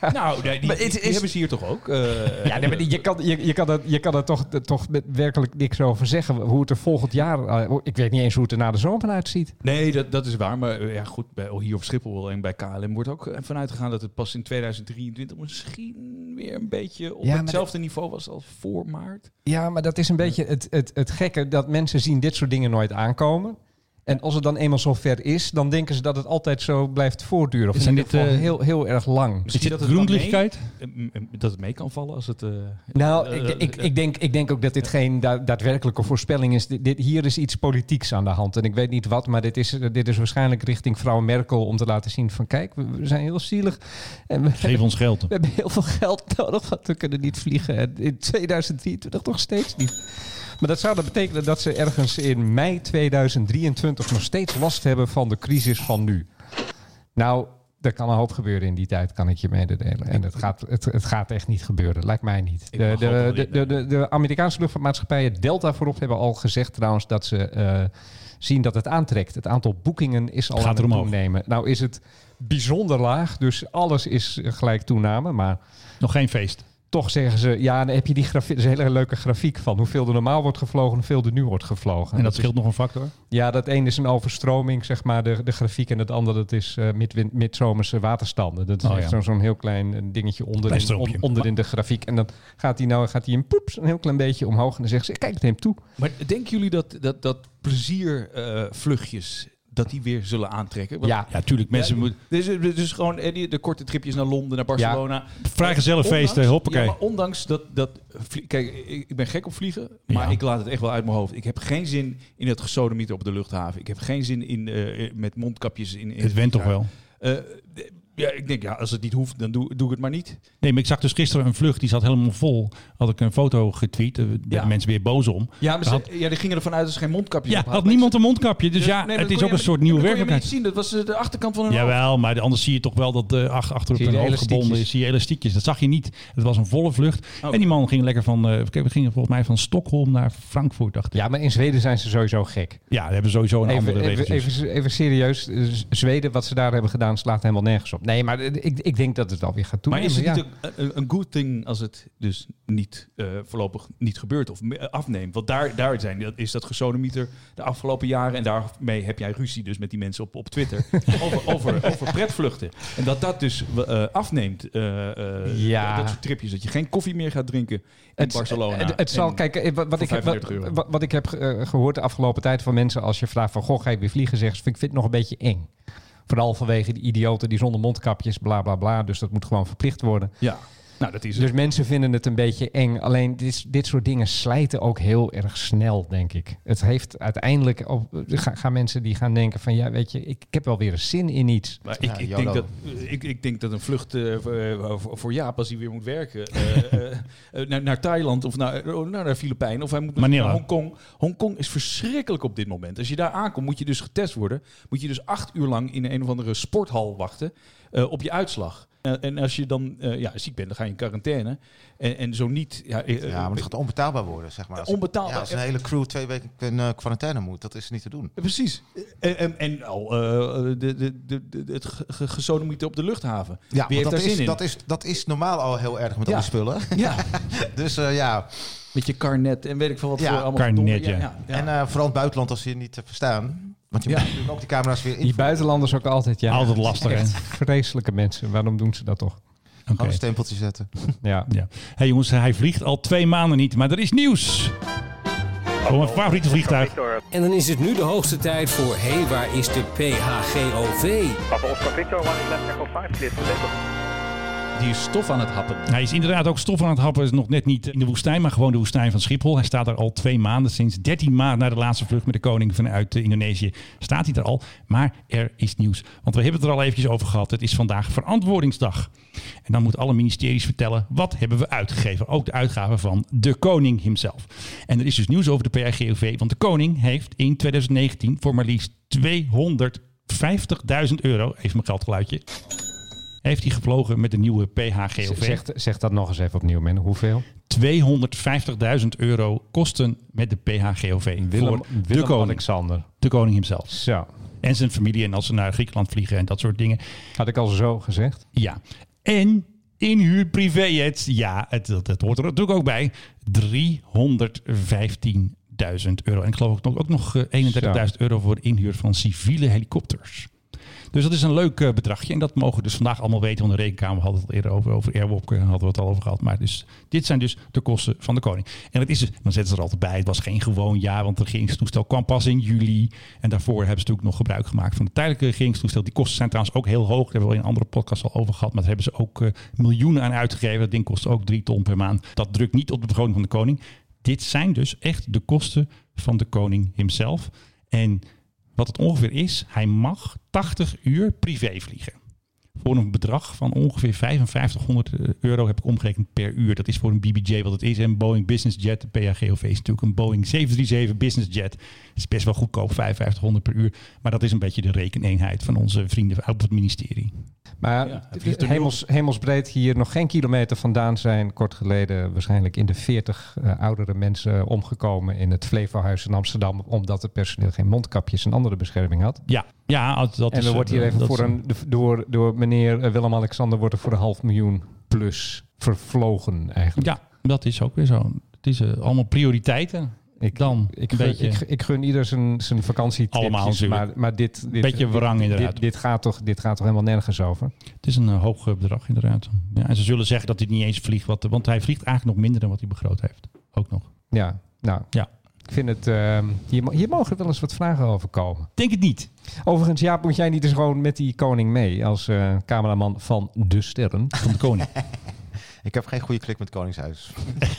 S3: ja.
S1: Nou, die, die, die hebben ze hier toch ook? eh,
S3: Ja, nee, maar die- je kan, je, je kan, er, je kan er toch, toch met- werkelijk niks over zeggen. Hoe het er volgend jaar... eh, Ik weet niet eens hoe het er na de zomer uitziet.
S1: Nee, dat, dat is waar. Maar eh, ja, goed, bij, hier op Schiphol en bij KLM wordt ook eh, vanuit gegaan dat het pas in 2023 misschien weer een beetje op
S3: Ja, maar
S1: hetzelfde niveau was als voor maart.
S3: Ja, maar dat is een beetje het, het, het gekke dat mensen zien dit soort dingen nooit aankomen. En als het dan eenmaal zover is, dan denken ze dat het altijd zo blijft voortduren. Of
S2: Is
S3: in
S2: dit,
S3: dit geval
S2: eh,
S3: heel, heel erg lang.
S2: Is
S1: dat
S2: dit
S1: het dan
S2: groenlichtkeit?
S1: Eh, m- m- Dat het mee kan vallen als het... eh,
S3: Nou,
S1: eh,
S3: ik,
S1: eh,
S3: ik,
S1: eh,
S3: ik, denk, ik denk ook dat dit geen da- daadwerkelijke voorspelling is. Dit, dit- hier is iets politieks aan de hand. En ik weet niet wat, maar dit is, dit is waarschijnlijk richting vrouw Merkel om te laten zien van... kijk, we, we zijn heel zielig en we,
S2: Geef ons geld.
S3: we hebben heel veel geld nodig, want we kunnen niet vliegen. En in 2023 nog steeds niet. Maar dat zou dan betekenen dat ze ergens in mei 2023 nog steeds last hebben van de crisis van nu. Nou, er kan een hoop gebeuren in die tijd, kan ik je mededelen. En het gaat, het, het gaat echt niet gebeuren, lijkt mij niet.
S1: Ik
S3: De,
S1: mag hopen dat
S3: de,
S1: dit-
S3: de, de, de, de Amerikaanse luchtvaartmaatschappijen, Delta voorop, hebben al gezegd trouwens dat ze eh, zien dat het aantrekt. Het aantal boekingen is al
S2: Gaat
S3: aan het
S2: omhoog.
S3: toenemen. Nou is het bijzonder laag, dus alles is eh, gelijk toename, maar
S2: Nog geen <laughs> feest.
S3: toch zeggen ze, ja, dan heb je die grafie- dat is een hele leuke grafiek van hoeveel er normaal wordt gevlogen en hoeveel er nu wordt gevlogen.
S2: En dat
S3: is-
S2: scheelt nog een factor.
S3: ja, dat een is een overstroming, zeg maar, de, de grafiek. En het andere, dat is eh midwin- midzomerse waterstanden. Dat is
S2: Oh,
S3: echt
S2: ja.
S3: zo'n zo'n heel klein eh, dingetje
S2: Klein
S3: onderin,
S2: stroopje.
S3: on- onderin de grafiek. En dan gaat hij nou gaat die een poeps een heel klein beetje omhoog. En dan zegt ze, kijk, het neemt toe.
S1: Maar denken jullie dat, dat, dat pleziervluchtjes, dat die weer zullen aantrekken? Want-
S3: Ja,
S2: Ja, tuurlijk. Mensen
S1: Ja,
S2: moeten...
S1: dus, dus gewoon eh, die- de korte tripjes naar Londen, naar Barcelona.
S2: Vrijgezellenfeesten,
S1: Ondanks-
S2: hoppakee.
S1: Ja, maar ondanks dat... dat vlie- kijk, ik ik ben gek op vliegen, maar
S2: Ja.
S1: ik laat het echt wel uit mijn hoofd. Ik heb geen zin in het gesodemieter op de luchthaven. Ik heb geen zin in, eh, met mondkapjes in... in
S2: Het went toch wel.
S1: Eh, d- ja, ik denk, ja, als het niet hoeft, dan doe, doe ik het maar niet.
S2: Nee, maar ik zag dus gisteren een vlucht, die zat helemaal vol. Had ik een foto getweet, daar werden
S1: Ja.
S2: mensen weer boos om.
S1: Ja, maar ze,
S2: Had-
S1: ja, die gingen ervan uit dat ze geen mondkapjes
S2: Ja,
S1: op
S2: had niemand een mondkapje, dus ja, het is ook een soort nieuwe
S1: Dat kon
S2: werkelijkheid.
S1: je helemaal niet zien, dat was eh, de achterkant van een
S2: Jawel, maar anders zie je toch wel dat eh ach- achterop
S3: Zie je
S2: een
S3: de
S2: hoofd
S3: elastiekjes?
S2: gebonden is. Zie je elastiekjes, dat zag je niet. Het was een volle vlucht.
S1: Oh.
S2: En die man ging lekker van, eh we gingen volgens mij van Stockholm naar Frankfurt, dacht ik.
S3: Ja, maar in Zweden zijn ze sowieso gek.
S2: Ja, daar hebben we sowieso een
S3: Even,
S2: andere
S3: even,
S2: regels.
S3: even, even serieus, eh, Z- Zweden, wat ze daar hebben gedaan, slaat helemaal nergens op. Nee, maar eh, ik, ik denk dat het alweer gaat
S1: Maar
S3: toenemen.
S1: is het
S3: ja.
S1: niet een, een- een good thing als het dus niet eh, voorlopig niet gebeurt of me- eh, afneemt? Want daar, daar zijn, dat is dat gesodemieter de afgelopen jaren. En daarmee heb jij ruzie dus met die mensen op, op
S3: <laughs>
S1: Twitter over, over, over pretvluchten. En dat dat dus eh, afneemt, eh, eh,
S3: Ja.
S1: dat, dat soort tripjes. Dat je geen koffie meer gaat drinken in Barcelona.
S3: Het, het zal,
S1: En-
S3: kijk, eh, wat, wat, ik, heb- wat,
S1: 35 euro.
S3: wat- wat ik heb eh, gehoord de afgelopen tijd van mensen, als je vraagt van goh, ga je weer vliegen, zeggen ze, ik vind het nog een beetje eng. Vooral vanwege die idioten die zonder mondkapjes, bla bla bla. Dus dat moet gewoon verplicht worden.
S1: Ja, nou dat is het.
S3: Dus mensen vinden het een beetje eng. Alleen dit, is- dit soort dingen slijten ook heel erg snel, denk ik. Het heeft uiteindelijk. Op, ga- gaan mensen die gaan denken: van ja, weet je, ik, ik heb wel weer een zin in iets.
S1: Maar ik,
S4: Ja,
S1: ik, denk
S4: YOLO.
S1: dat, ik, ik denk dat een vlucht eh, voor- eh, voor, voor Jaap, als hij weer moet werken, eh, <laughs> eh, eh, naar, naar Thailand of naar, oh, naar de Filipijnen of hij moet
S2: Manila.
S1: naar Hongkong. Hongkong is verschrikkelijk op dit moment. Als je daar aankomt, moet je dus getest worden. Moet je dus acht uur lang in een of andere sporthal wachten eh, op je uitslag. Eh, en als je dan eh, ja, ziek bent, dan ga je in quarantaine. En, en zo niet... Ja, eh, eh,
S4: Ja, maar het gaat onbetaalbaar worden, zeg maar. Als-
S1: Onbetaalbaar.
S4: Ja, als een hele crew twee weken in eh, quarantaine moet, dat is niet te doen.
S1: Ja, eh, Precies. En, en, en al eh, de, de, de, de- het ge- ge- gesodemieten op de luchthaven.
S4: Ja,
S1: Wie
S4: want
S1: heeft
S4: dat,
S1: daar
S4: is,
S1: zin in?
S4: Dat, is, dat is normaal al heel erg met
S1: Ja.
S4: al die
S1: <laughs>
S4: spullen. <laughs>
S1: Ja.
S4: Dus eh, ja,
S1: Met je carnet en weet ik veel wat
S4: Ja,
S1: voor allemaal.
S2: carnet,
S1: verdomme-
S2: ja.
S1: ja.
S4: en eh, vooral in het buitenland als ze je niet te verstaan. Want je
S1: Ja.
S4: moet natuurlijk ook die camera's weer in.
S3: Die buitenlanders ook altijd. Ja,
S2: Altijd lastig, hè?
S3: Echt vreselijke mensen. Waarom doen ze dat toch?
S2: Oké.
S4: Gewoon een stempeltje zetten.
S3: Ja.
S2: Ja. hey jongens, hij vliegt al twee maanden niet, maar er is nieuws. Oh, mijn favoriete vliegtuig.
S6: En dan is het nu de hoogste tijd voor... Hé, waar is de PHGOV?
S8: Papa Oscar Victor, 1 left echo 5, clear to label.
S1: Die is stof aan het happen.
S2: Hij is inderdaad ook stof aan het happen. Is nog net niet in de woestijn, maar gewoon de woestijn van Schiphol. Hij staat daar al twee maanden. Sinds 13 maart na de laatste vlucht met de koning vanuit eh, Indonesië staat hij daar al. Maar er is nieuws. Want we hebben het er al eventjes over gehad. Het is vandaag verantwoordingsdag. En dan moeten alle ministeries vertellen wat hebben we uitgegeven. Ook de uitgaven van de koning himself. En er is dus nieuws over de PRGOV. Want de koning heeft in 2019 voor maar liefst 250.000 euro, even mijn geldgeluidje, heeft hij gevlogen met de nieuwe PHGOV.
S3: Zeg, zeg dat nog eens even opnieuw, man. Hoeveel?
S2: 250.000 euro kosten met de PHGOV
S3: Willem,
S2: voor de
S3: Willem
S2: koning.
S3: Alexander.
S2: De koning hemzelf.
S3: Zo.
S2: En zijn familie en als ze naar Griekenland vliegen en dat soort dingen.
S3: Had ik al zo gezegd.
S2: Ja. En inhuur privéjets. Ja, het, dat, dat hoort er natuurlijk ook bij. 315.000 euro. En ik geloof ook nog, ook nog eh, 31.000 euro voor de inhuur van civiele helikopters. Dus dat is een leuk eh, bedragje. En dat mogen we dus vandaag allemaal weten. Want de rekenkamer hadden het al eerder over. Over Airwalk eh, hadden we het al over gehad. Maar dus, dit zijn dus de kosten van de koning. En het is dus, dan zetten ze er altijd bij. Het was geen gewoon jaar. Want het regeringstoestel kwam pas in juli. En daarvoor hebben ze natuurlijk nog gebruik gemaakt van het tijdelijke regeringstoestel. Die kosten zijn trouwens ook heel hoog. Daar hebben we al in een andere podcast al over gehad. Maar daar hebben ze ook eh, miljoenen aan uitgegeven. Dat ding kost ook drie ton per maand. Dat drukt niet op de begroting van de koning. Dit zijn dus echt de kosten van de koning hemzelf. En wat het ongeveer is, hij mag 80 uur privé vliegen. Voor een bedrag van ongeveer 5500 euro heb ik omgerekend per uur. Dat is voor een BBJ wat het is. En Boeing Business Jet, de PHGOV is natuurlijk een Boeing 737 Business Jet. Dat is best wel goedkoop, 5500 per uur. Maar dat is een beetje de rekeneenheid van onze vrienden op het ministerie.
S3: Maar
S1: Ja, hij
S3: d-
S1: vliegt er nu
S3: hemels, hemelsbreed hier nog geen kilometer vandaan zijn. Kort geleden waarschijnlijk in de 40 eh, oudere mensen omgekomen in het Flevohuis in Amsterdam. Omdat het personeel geen mondkapjes en andere bescherming had.
S2: Ja, ja dat dat
S3: en
S2: is...
S3: er wordt hier
S2: eh,
S3: even
S2: dat
S3: voor
S2: is-
S3: een, door, door meneer eh, Willem-Alexander wordt er voor een half miljoen plus vervlogen eigenlijk.
S2: Ja, dat is ook weer zo. Het is eh, allemaal prioriteiten.
S3: Ik-
S2: Dan
S3: Ik
S2: een
S3: gun,
S2: beetje...
S3: ik, ik gun ieder zijn, zijn vakantietipjes,
S2: Allemaal natuurlijk.
S3: maar, maar dit, dit,
S2: Beetje
S3: dit-
S2: wrang
S3: dit,
S2: inderdaad.
S3: dit, gaat toch, dit gaat toch helemaal nergens over?
S2: Het is een eh, hoog eh, bedrag inderdaad. Ja, en ze zullen zeggen dat hij niet eens vliegt. Wat, eh, want hij vliegt eigenlijk nog minder dan wat hij begroot heeft. Ook nog.
S3: Ja, nou.
S2: Ja.
S3: Ik vind het... ehm, hier, mo- hier mogen wel eens wat vragen over komen.
S2: Denk het niet.
S3: Overigens, Jaap, moet jij niet eens gewoon met die koning mee... als eh, cameraman van De Sterren?
S2: Van de <laughs> koning.
S4: Ik heb geen goede klik met Koningshuis.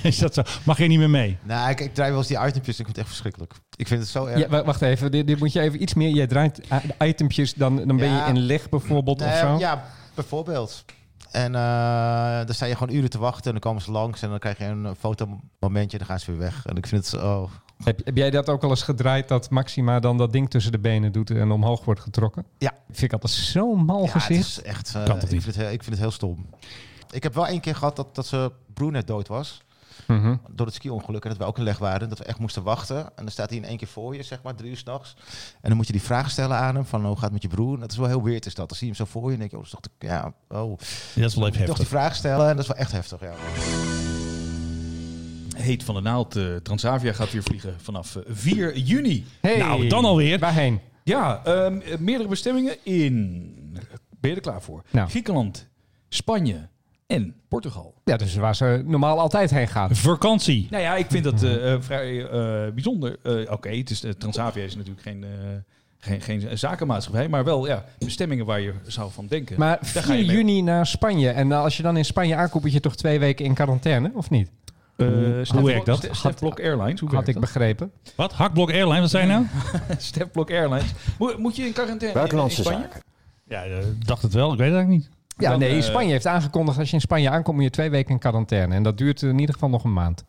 S2: is dat zo? Mag je niet meer mee?
S4: Nou, ik, ik draai wel eens die itempjes. Ik vind het echt verschrikkelijk. Ik vind het zo erg.
S3: Ja, wa- wacht even, dit, dit moet je even iets meer... Jij draait i- itempjes, dan, dan ben je
S4: Ja.
S3: in leg bijvoorbeeld
S4: Nou
S3: of
S4: ja,
S3: zo.
S4: Ja, bijvoorbeeld. En eh dan sta je gewoon uren te wachten en dan komen ze langs en dan krijg je een eh, fotomomentje en dan gaan ze weer weg. En ik vind het zo...
S3: Heb, heb jij dat ook al eens gedraaid dat Maxima dan dat ding tussen de benen doet... en omhoog wordt getrokken?
S4: Ja.
S3: Vind ik altijd zo'n mal
S4: Ja, het
S3: gezicht.
S4: is echt... eh,
S2: Kan toch
S4: ik,
S2: niet?
S4: vind het heel, ik vind het heel stom. Ik heb wel één keer gehad dat, dat ze broer net dood was
S3: Mhm.
S4: door het ski-ongeluk en dat we ook in leg waren. Dat we echt moesten wachten. En dan staat hij in één keer voor je, zeg maar, drie uur s'nachts. En dan moet je die vraag stellen aan hem van "Oh, hoe gaat het met je broer? En dat is wel heel weird is dat. Dan zie je hem zo voor je en denk je, oh, dat is toch... de- Ja, oh.
S2: Dat is wel even
S4: Toch die
S2: heftig.
S4: vraag stellen en dat is wel echt heftig, ja.
S1: Heet van de naald. eh, Transavia gaat weer vliegen vanaf eh, 4 juni.
S3: Hey,
S2: Nou, dan alweer.
S3: Waarheen?
S1: Ja, ehm, eh, meerdere bestemmingen in. Ben je er klaar voor?
S3: Nou.
S1: Griekenland, Spanje en Portugal.
S3: Ja, dus waar ze normaal altijd heen gaat.
S2: Vakantie.
S1: Nou ja, ik vind dat eh, eh, vrij eh, bijzonder. Eh, Oké, het is eh, Transavia is natuurlijk geen, eh, geen, geen zakenmaatschappij, maar wel ja, bestemmingen waar je zou van denken.
S3: Maar
S1: Daar ga je
S3: 4
S1: mee.
S3: juni naar Spanje. En nou, als je dan in Spanje aankomt, ben je toch twee weken in quarantaine, of niet?
S1: Eh, Stef-
S2: werkt dat?
S1: Stef- Stefblok Airlines, hoe
S3: Had
S1: werkt
S3: ik
S1: <laughs> dat?
S3: begrepen.
S2: Wat? Hakblok Airline, wat zijn nou?
S1: Stefblok Airlines. Moet, moet je in quarantaine?
S10: Buitenlandse
S1: in Spanje?
S10: zaken.
S2: Ja, eh, dacht het wel. Ik weet het eigenlijk niet.
S3: Ja,
S1: Dan,
S3: nee,
S1: eh,
S3: Spanje heeft aangekondigd als je in Spanje aankomt, moet je twee weken in quarantaine. En dat duurt in ieder geval nog een maand.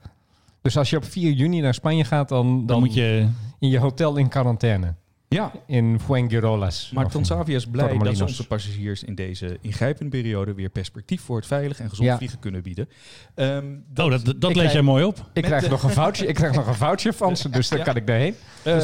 S3: Dus als je op 4 juni naar Spanje gaat, dan, dan,
S2: Dan, Oh, moet je...
S3: in je hotel in quarantaine.
S1: Ja,
S3: In Fuengirolas.
S1: maar
S3: Of in-
S1: Transavia is blij dat
S3: Torremolinos.
S1: ze onze passagiers in deze ingrijpende periode weer perspectief voor het veilig en gezond
S3: Ja.
S1: vliegen kunnen bieden. Ehm,
S2: Oh, dat, dat lees
S3: krijg-
S2: jij mooi op.
S3: Ik krijg,
S1: de-
S3: nog een voucher, ik krijg nog een voucher van ze, dus dan
S1: Ja.
S3: kan ik daarheen.
S1: Eh,
S4: 15%,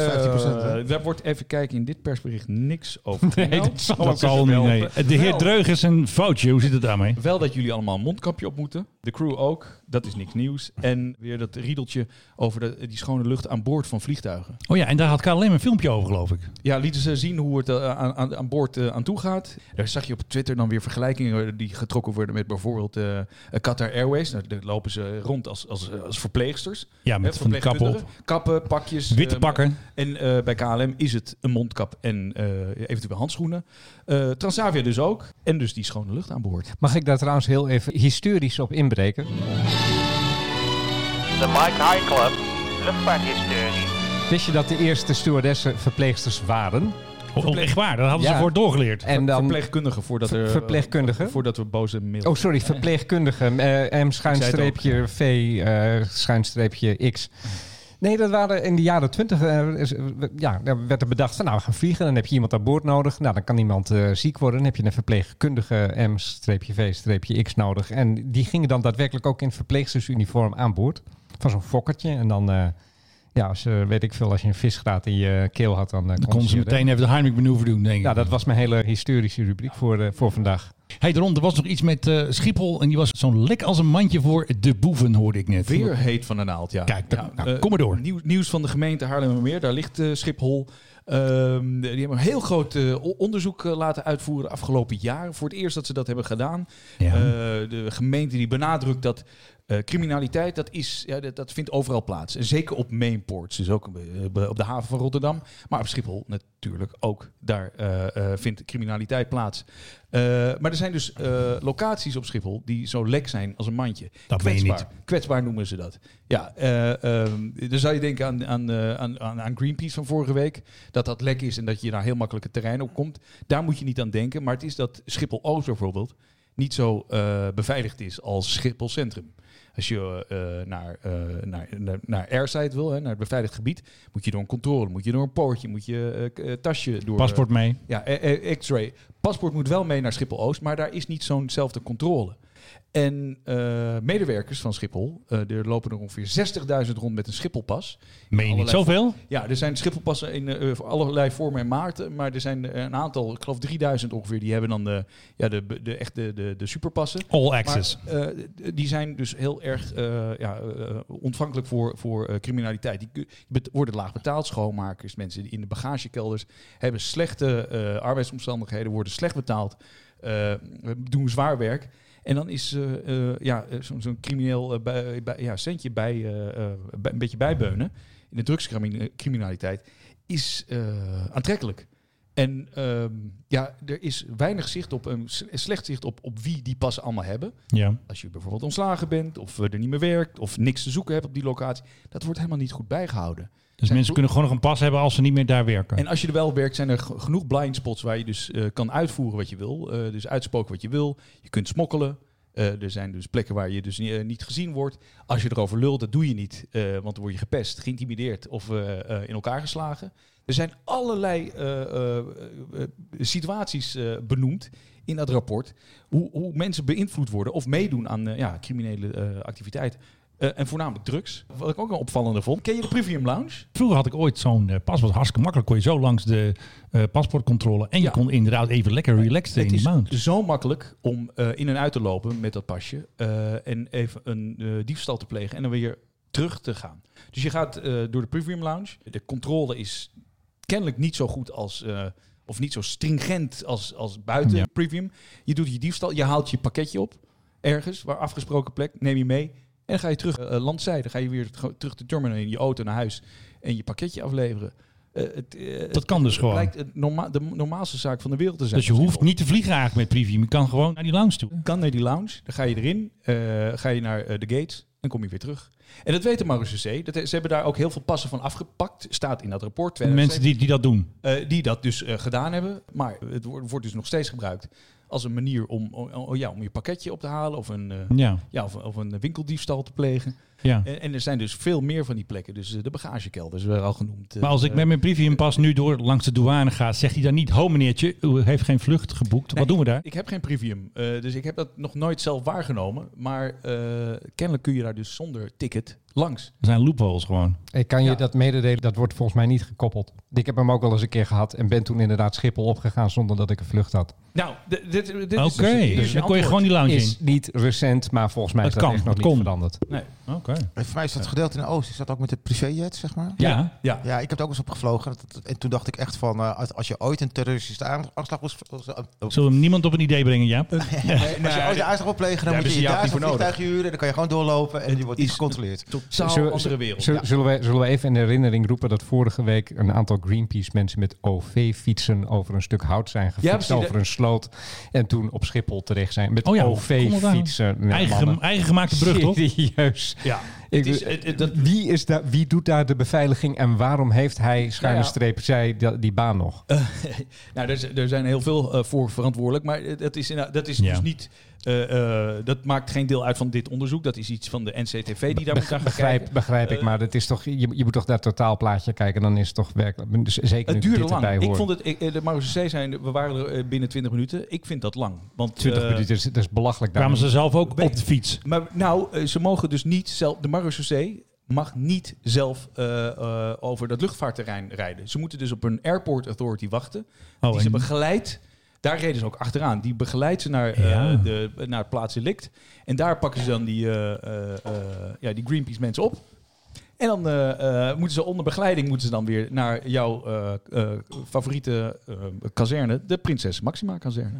S4: hè?
S1: daar wordt even kijken in dit persbericht niks over.
S3: Nee,
S1: Nou,
S3: dat zal
S2: Dat zal niet.
S1: wel-
S2: nee. De heer
S1: wel-
S2: Dreug is een foutje. Hoe zit het daarmee?
S1: Wel dat jullie allemaal een mondkapje op moeten. De crew ook, dat is niks nieuws. En weer dat riedeltje over de, die schone lucht aan boord van vliegtuigen.
S2: Oh ja, en daar had KLM een filmpje over, geloof ik.
S1: Ja, lieten ze zien hoe het eh, aan, aan, aan boord eh, aan toe gaat. Daar zag je op Twitter dan weer vergelijkingen eh, die getrokken worden met bijvoorbeeld eh, Qatar Airways. Nou, daar lopen ze rond als, als, als verpleegsters.
S2: Ja, met
S1: Hè,
S2: van die kappen op.
S1: verpleegkundigen. Kappen, pakjes.
S2: Witte
S1: eh,
S2: pakken.
S1: En eh, bij KLM is het een mondkap en eh, eventueel handschoenen. Eh, Transavia dus ook. En dus die schone lucht aan boord.
S3: Mag ik daar trouwens heel even historisch op inbreken?
S10: De Mike High Club, luchtvaarthistorie.
S3: Wist je dat de eerste stewardessen verpleegsters waren?
S2: Oh, oh, echt waar, daar hadden ze
S3: Ja.
S2: voor doorgeleerd.
S3: En dan...
S1: Verpleegkundigen voordat
S3: Ver-
S1: er... eh,
S3: verpleegkundigen?
S1: Voordat we boze mail...
S3: Oh, sorry, verpleegkundigen. Eh, M schuinstreepje V eh, schuinstreepje X. Nee, dat waren in de jaren twintig. eh, ja, daar werd er bedacht van, nou, we gaan vliegen. Dan heb je iemand aan boord nodig. Nou, dan kan iemand eh, ziek worden. Dan heb je een verpleegkundige M-V-X nodig. En die gingen dan daadwerkelijk ook in verpleegstersuniform aan boord. Van zo'n fokkertje. En dan, eh, ja, als, eh, weet ik veel, als je een visgraat in je keel had, dan eh,
S2: Dan konden ze
S3: je-
S2: meteen even de Heimlich manoeuvre doen, denk ik.
S3: Ja, dat was mijn hele historische rubriek voor, eh, voor vandaag.
S2: Hey, Ron, er was nog iets met eh, Schiphol en die was zo'n lek als een mandje voor de boeven, hoorde ik net.
S1: Weer heet van een naald, ja.
S2: Kijk, dan-
S1: Ja,
S2: nou,
S1: eh,
S2: kom maar door.
S1: Nieuws, nieuws van de gemeente Haarlemmermeer, daar ligt eh, Schiphol. Ehm, die hebben een heel groot eh, o- onderzoek eh, laten uitvoeren afgelopen jaar. Voor het eerst dat ze dat hebben gedaan.
S2: Ja.
S1: Eh, de gemeente die benadrukt dat eh, criminaliteit, dat, is, ja, dat, dat vindt overal plaats. En zeker op mainports, dus ook eh, op de haven van Rotterdam. Maar op Schiphol natuurlijk ook. Daar eh, eh, vindt criminaliteit plaats. Eh, maar er zijn dus eh, locaties op Schiphol die zo lek zijn als een mandje.
S2: Dat meen je niet.
S1: Kwetsbaar noemen ze dat. Ja, eh, ehm, dan zou je denken aan, aan, eh, aan, aan, aan Greenpeace van vorige week. Dat dat lek is en dat je daar heel makkelijk het terrein op komt. Daar moet je niet aan denken. Maar het is dat Schiphol Oost bijvoorbeeld niet zo eh, beveiligd is als Schiphol Centrum. Als je eh, naar, eh, naar, naar, naar Airside wil, hè, naar het beveiligd gebied, moet je door een controle, moet je door een poortje, moet je eh, k- eh, tasje door.
S2: Paspoort mee.
S1: Ja, eh, eh, X-ray. Paspoort moet wel mee naar Schiphol Oost, maar daar is niet zo'nzelfde controle. En eh, medewerkers van Schiphol, eh, er lopen er ongeveer 60.000 rond met een Schipholpas.
S2: Meen je niet
S1: Allerlei
S2: zoveel?
S1: Ja, er zijn Schipholpassen in eh, eh, allerlei vormen en maarten, maar er zijn eh, een aantal, ik geloof 3000 ongeveer, die hebben dan de, ja, de, de, echt de, de, de superpassen.
S2: All
S1: Maar,
S2: access.
S1: eh, d- die zijn dus heel erg eh, ja, eh, ontvankelijk voor, voor eh, criminaliteit. Die ku- bet- worden laag betaald. Schoonmakers, mensen die in de bagagekelders hebben slechte eh, arbeidsomstandigheden, worden slecht betaald, eh, doen zwaar werk. En dan is eh, eh, ja, eh, zo'n zo'n crimineel eh, bij, bij- ja, centje bij, eh, eh, bij- een beetje bijbeunen in de drugscriminaliteit is eh, aantrekkelijk. En ehm, ja, er is weinig zicht op, een slecht zicht op, op wie die passen allemaal hebben
S2: Ja.
S1: als je bijvoorbeeld ontslagen bent, of eh, er niet meer werkt, of niks te zoeken hebt op die locatie, dat wordt helemaal niet goed bijgehouden.
S2: Dus
S1: Zijn
S2: mensen kunnen gewoon nog een pas hebben als ze niet meer daar werken.
S1: En als je er wel werkt, zijn er g- genoeg blind spots waar je dus eh, kan uitvoeren wat je wil. eh, dus uitspoken wat je wil. Je kunt smokkelen. Eh, er zijn dus plekken waar je dus ni- eh, niet gezien wordt. Als je erover lult, dat doe je niet. eh, want dan word je gepest, geïntimideerd of eh, eh, in elkaar geslagen. Er zijn allerlei eh, eh, eh, situaties eh, benoemd in dat rapport. Hoe, hoe mensen beïnvloed worden of meedoen aan eh, ja, criminele eh, activiteit. Eh, en voornamelijk drugs. Wat ik ook een opvallende vond. Ken je de Premium Lounge?
S2: Vroeger had ik ooit zo'n eh, pas, was hartstikke makkelijk. Kon je zo langs de eh, paspoortcontrole. En je
S1: Ja.
S2: kon inderdaad even lekker relaxen in
S1: Het
S2: die
S1: is
S2: mount.
S1: zo makkelijk om eh, in en uit te lopen met dat pasje. eh, en even een eh, diefstal te plegen en dan weer terug te gaan. Dus je gaat eh, door de Premium Lounge. De controle is kennelijk niet zo goed als. eh, of niet zo stringent als, als buiten
S2: Ja.
S1: Premium. Je doet je diefstal, je haalt je pakketje op. Ergens, waar afgesproken plek, neem je mee. En ga je terug eh, landzijde. Ga je weer tr- terug de terminal in je auto naar huis. En je pakketje afleveren. Eh, het, eh, het
S2: Dat kan dus gewoon.
S1: blijkt het norma- de normaalste zaak van de wereld te zijn.
S2: Dus je hoeft niet te vliegen eigenlijk met preview. Je kan gewoon naar die lounge toe.
S1: kan naar die lounge, dan ga je erin, eh, ga je naar eh, de gates en kom je weer terug. En dat weet de Marusche C. Dat, ze hebben daar ook heel veel passen van afgepakt. Staat in dat rapport.
S2: De mensen die, die dat doen.
S1: eh, die dat dus eh, gedaan hebben. Maar het wordt, wordt dus nog steeds gebruikt als een manier om, om- om- ja, om je pakketje op te halen of een, eh,
S2: Ja,
S1: ja, of, of een winkeldiefstal te plegen.
S2: ja.
S1: En, en er zijn dus veel meer van die plekken. Dus eh, de bagagekelders werden al genoemd. eh,
S2: Maar als ik
S1: eh,
S2: met mijn preview pas nu door langs de douane ga, zegt hij dan niet: Ho meneertje, u heeft geen vlucht geboekt.
S1: Nee.
S2: Wat doen we daar?
S1: Ik heb geen Privium, eh, dus ik heb dat nog nooit zelf waargenomen. Maar eh, kennelijk kun je daar dus zonder ticket langs.
S2: Er zijn loopholes gewoon.
S3: Ik kan je
S1: Ja.
S3: dat mededelen, dat wordt volgens mij niet gekoppeld. Ik heb hem ook wel eens een keer gehad en ben toen inderdaad Schiphol opgegaan zonder dat ik een vlucht had.
S1: Nou, d- dit, dit
S2: Oké,
S1: is dus- dit is
S2: dus dan kon je
S1: antwoord.
S2: gewoon die lounge
S3: Is
S2: in.
S3: niet recent, maar volgens mij
S2: Het
S3: is dat
S2: kan,
S3: echt nog
S2: het
S3: niet
S2: kon.
S3: veranderd.
S1: Nee.
S2: Oké.
S4: En voor mij is dat gedeeld in de Oost. Is dat ook met de privéjet, zeg maar?
S2: Ja.
S1: Ja.
S4: Ja, ik heb het ook eens opgevlogen. Dat- dat- En toen dacht ik echt van, eh, als- als je ooit een terroristische aanslag was... Als je
S2: Zullen we hem niemand op een idee brengen, Jaap?
S4: ooit een aanslag wil plegen, dan
S1: Daar hebben
S4: moet je
S1: ze
S4: je
S1: jou
S4: daar
S1: dus niet voor
S4: zo'n
S1: nodig.
S4: vliegtuig huren. Dan kan je gewoon doorlopen en
S1: Het
S4: je wordt niet
S1: is-
S4: gecontroleerd.
S1: Totaal
S3: Zullen-
S1: andere wereld.
S3: Zullen, zullen, we, zullen we even in herinnering roepen dat vorige week een aantal Greenpeace-mensen met OV-fietsen over een stuk hout zijn gefietst,
S1: precies, dat-
S3: over een sloot en toen op Schiphol terecht zijn met
S2: Oh ja, kom op daar.
S3: OV-fietsen. Ja,
S2: Eigen,
S3: mannen.
S2: eigen gemaakte brug, toch?
S3: Serieus.
S1: Ja.
S3: Ik-
S1: Het is- het- het- dat-
S3: wie, is daar, wie doet daar de beveiliging en waarom heeft hij, schuine
S1: Nou ja.
S3: streep, zij da- die baan nog?
S1: Nou, er, z- er zijn heel veel eh, voor verantwoordelijk, maar eh, dat is, inderdaad- dat is
S2: Ja.
S1: dus niet. eh, eh, dat maakt geen deel uit van dit onderzoek. Dat is iets van de NCTV die daar moet naar gaan
S3: Begrijp,
S1: kijken.
S3: begrijp ik,
S1: Eh,
S3: maar het is toch, je, je moet toch dat totaalplaatje kijken. Dan is het toch werkelijk. Dus zeker
S1: Het
S3: nu
S1: duurde
S3: dit erbij
S1: lang. Ik
S3: hoort.
S1: vond het, ik, eh, de Mauritius zijn, we waren er eh, binnen 20 minuten. Ik vind dat lang. Want,
S3: 20
S1: eh,
S3: minuten, is- dat is belachelijk.
S2: Kwamen
S3: dames.
S2: ze zelf ook
S1: Ben-
S2: op de fiets?
S1: Maar nou, eh, ze mogen dus niet zelf. De Mauritius mag niet zelf eh, eh, over dat luchtvaartterrein rijden. Ze moeten dus op een airport authority wachten.
S2: Oh,
S1: die ze
S2: en-
S1: begeleidt. Daar reden ze ook achteraan. Die begeleidt ze naar, eh,
S2: Ja.
S1: de, naar het plaatsdelict. En daar pakken ze dan die, eh, eh, eh, ja, die Greenpeace mensen op. En dan eh, eh, moeten ze onder begeleiding moeten ze dan weer naar jouw eh, eh, favoriete eh, kazerne, de Prinses Maxima kazerne.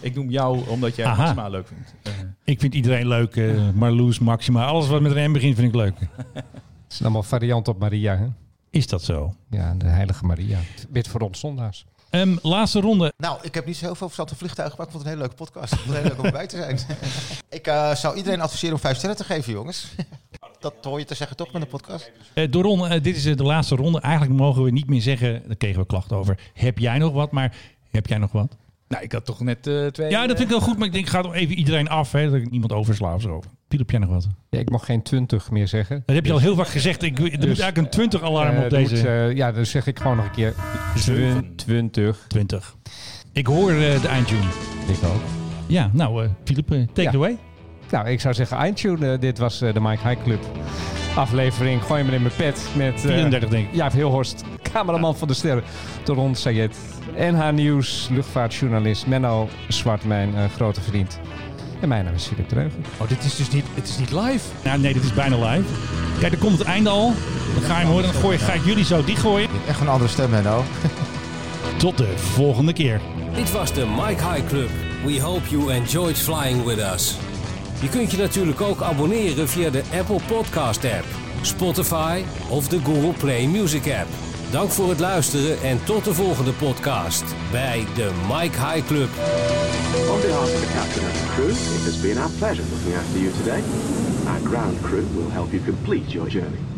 S1: Ik noem jou omdat jij
S2: Aha.
S1: Maxima leuk vindt. Eh,
S2: Ik vind iedereen leuk. eh Marloes, Maxima, alles wat met een M begint vind ik leuk.
S3: Het is allemaal variant op Maria. Hè?
S2: Is dat zo?
S3: Ja, de heilige Maria. Wit voor ons zondaars.
S2: Ehm, laatste ronde.
S4: Nou, ik heb niet zo heel veel verstand van vliegtuigen, maar ik vond het een hele leuke podcast. Ik vond het heel leuk om bij te zijn.
S1: <laughs>
S4: ik eh, zou iedereen adviseren om vijf sterren te geven, jongens. <laughs> dat hoor je te zeggen toch met een podcast?
S2: Eh, Doron, eh, dit is eh, de laatste ronde. Eigenlijk mogen we niet meer zeggen, daar kregen we klachten over. Heb jij nog wat? Maar heb jij nog wat?
S1: Nou, ik had toch net eh, twee.
S2: Ja, dat vind ik wel goed, maar ik denk, ik ga toch even iedereen af. Hè, dat ik niemand oversla of zo. Piet, heb jij nog wat?
S3: Ja, ik mag geen 20 meer zeggen.
S2: Dat heb je al heel vaak gezegd. Ik, er moet eigenlijk een 20 alarm
S3: Eh,
S2: op
S3: er
S2: deze.
S3: moet, eh, Dus- ja, dan zeg ik gewoon nog een keer. 20.
S2: 20. Ik hoor eh, de eindtune.
S3: Ik ook.
S2: Ja, nou, eh Filip, eh, take
S3: Ja.
S2: it away.
S3: Nou, ik zou zeggen, iTunes. eh, dit was eh, de Mike High Club aflevering. Gooi me in mijn pet met... eh,
S2: 34 denk ik.
S3: Jaap Hilhorst, cameraman van de sterren. Toron Sayed, NH Nieuws, luchtvaartjournalist Menno Zwart, mijn eh, grote vriend. En mijn naam is Filip Dreugen.
S1: Oh, dit is dus niet, het is niet live.
S2: Nou, nee, dit is bijna live. Kijk, er komt het einde al. Dan ga je hem horen en dan gooi, ga ik jullie zo dichtgooien.
S4: Je hebt echt een andere stem, nou? Menno.
S2: Tot de volgende keer.
S6: Dit was de Mike High Club. We hope you enjoyed flying with us. Je kunt je natuurlijk ook abonneren via de Apple Podcast app, Spotify of de Google Play Music app. Dank voor het luisteren en tot de volgende podcast bij de Mike High Club.
S11: On behalf of the captain and the crew, it has been our pleasure looking after you today. Our ground crew will help you complete your journey.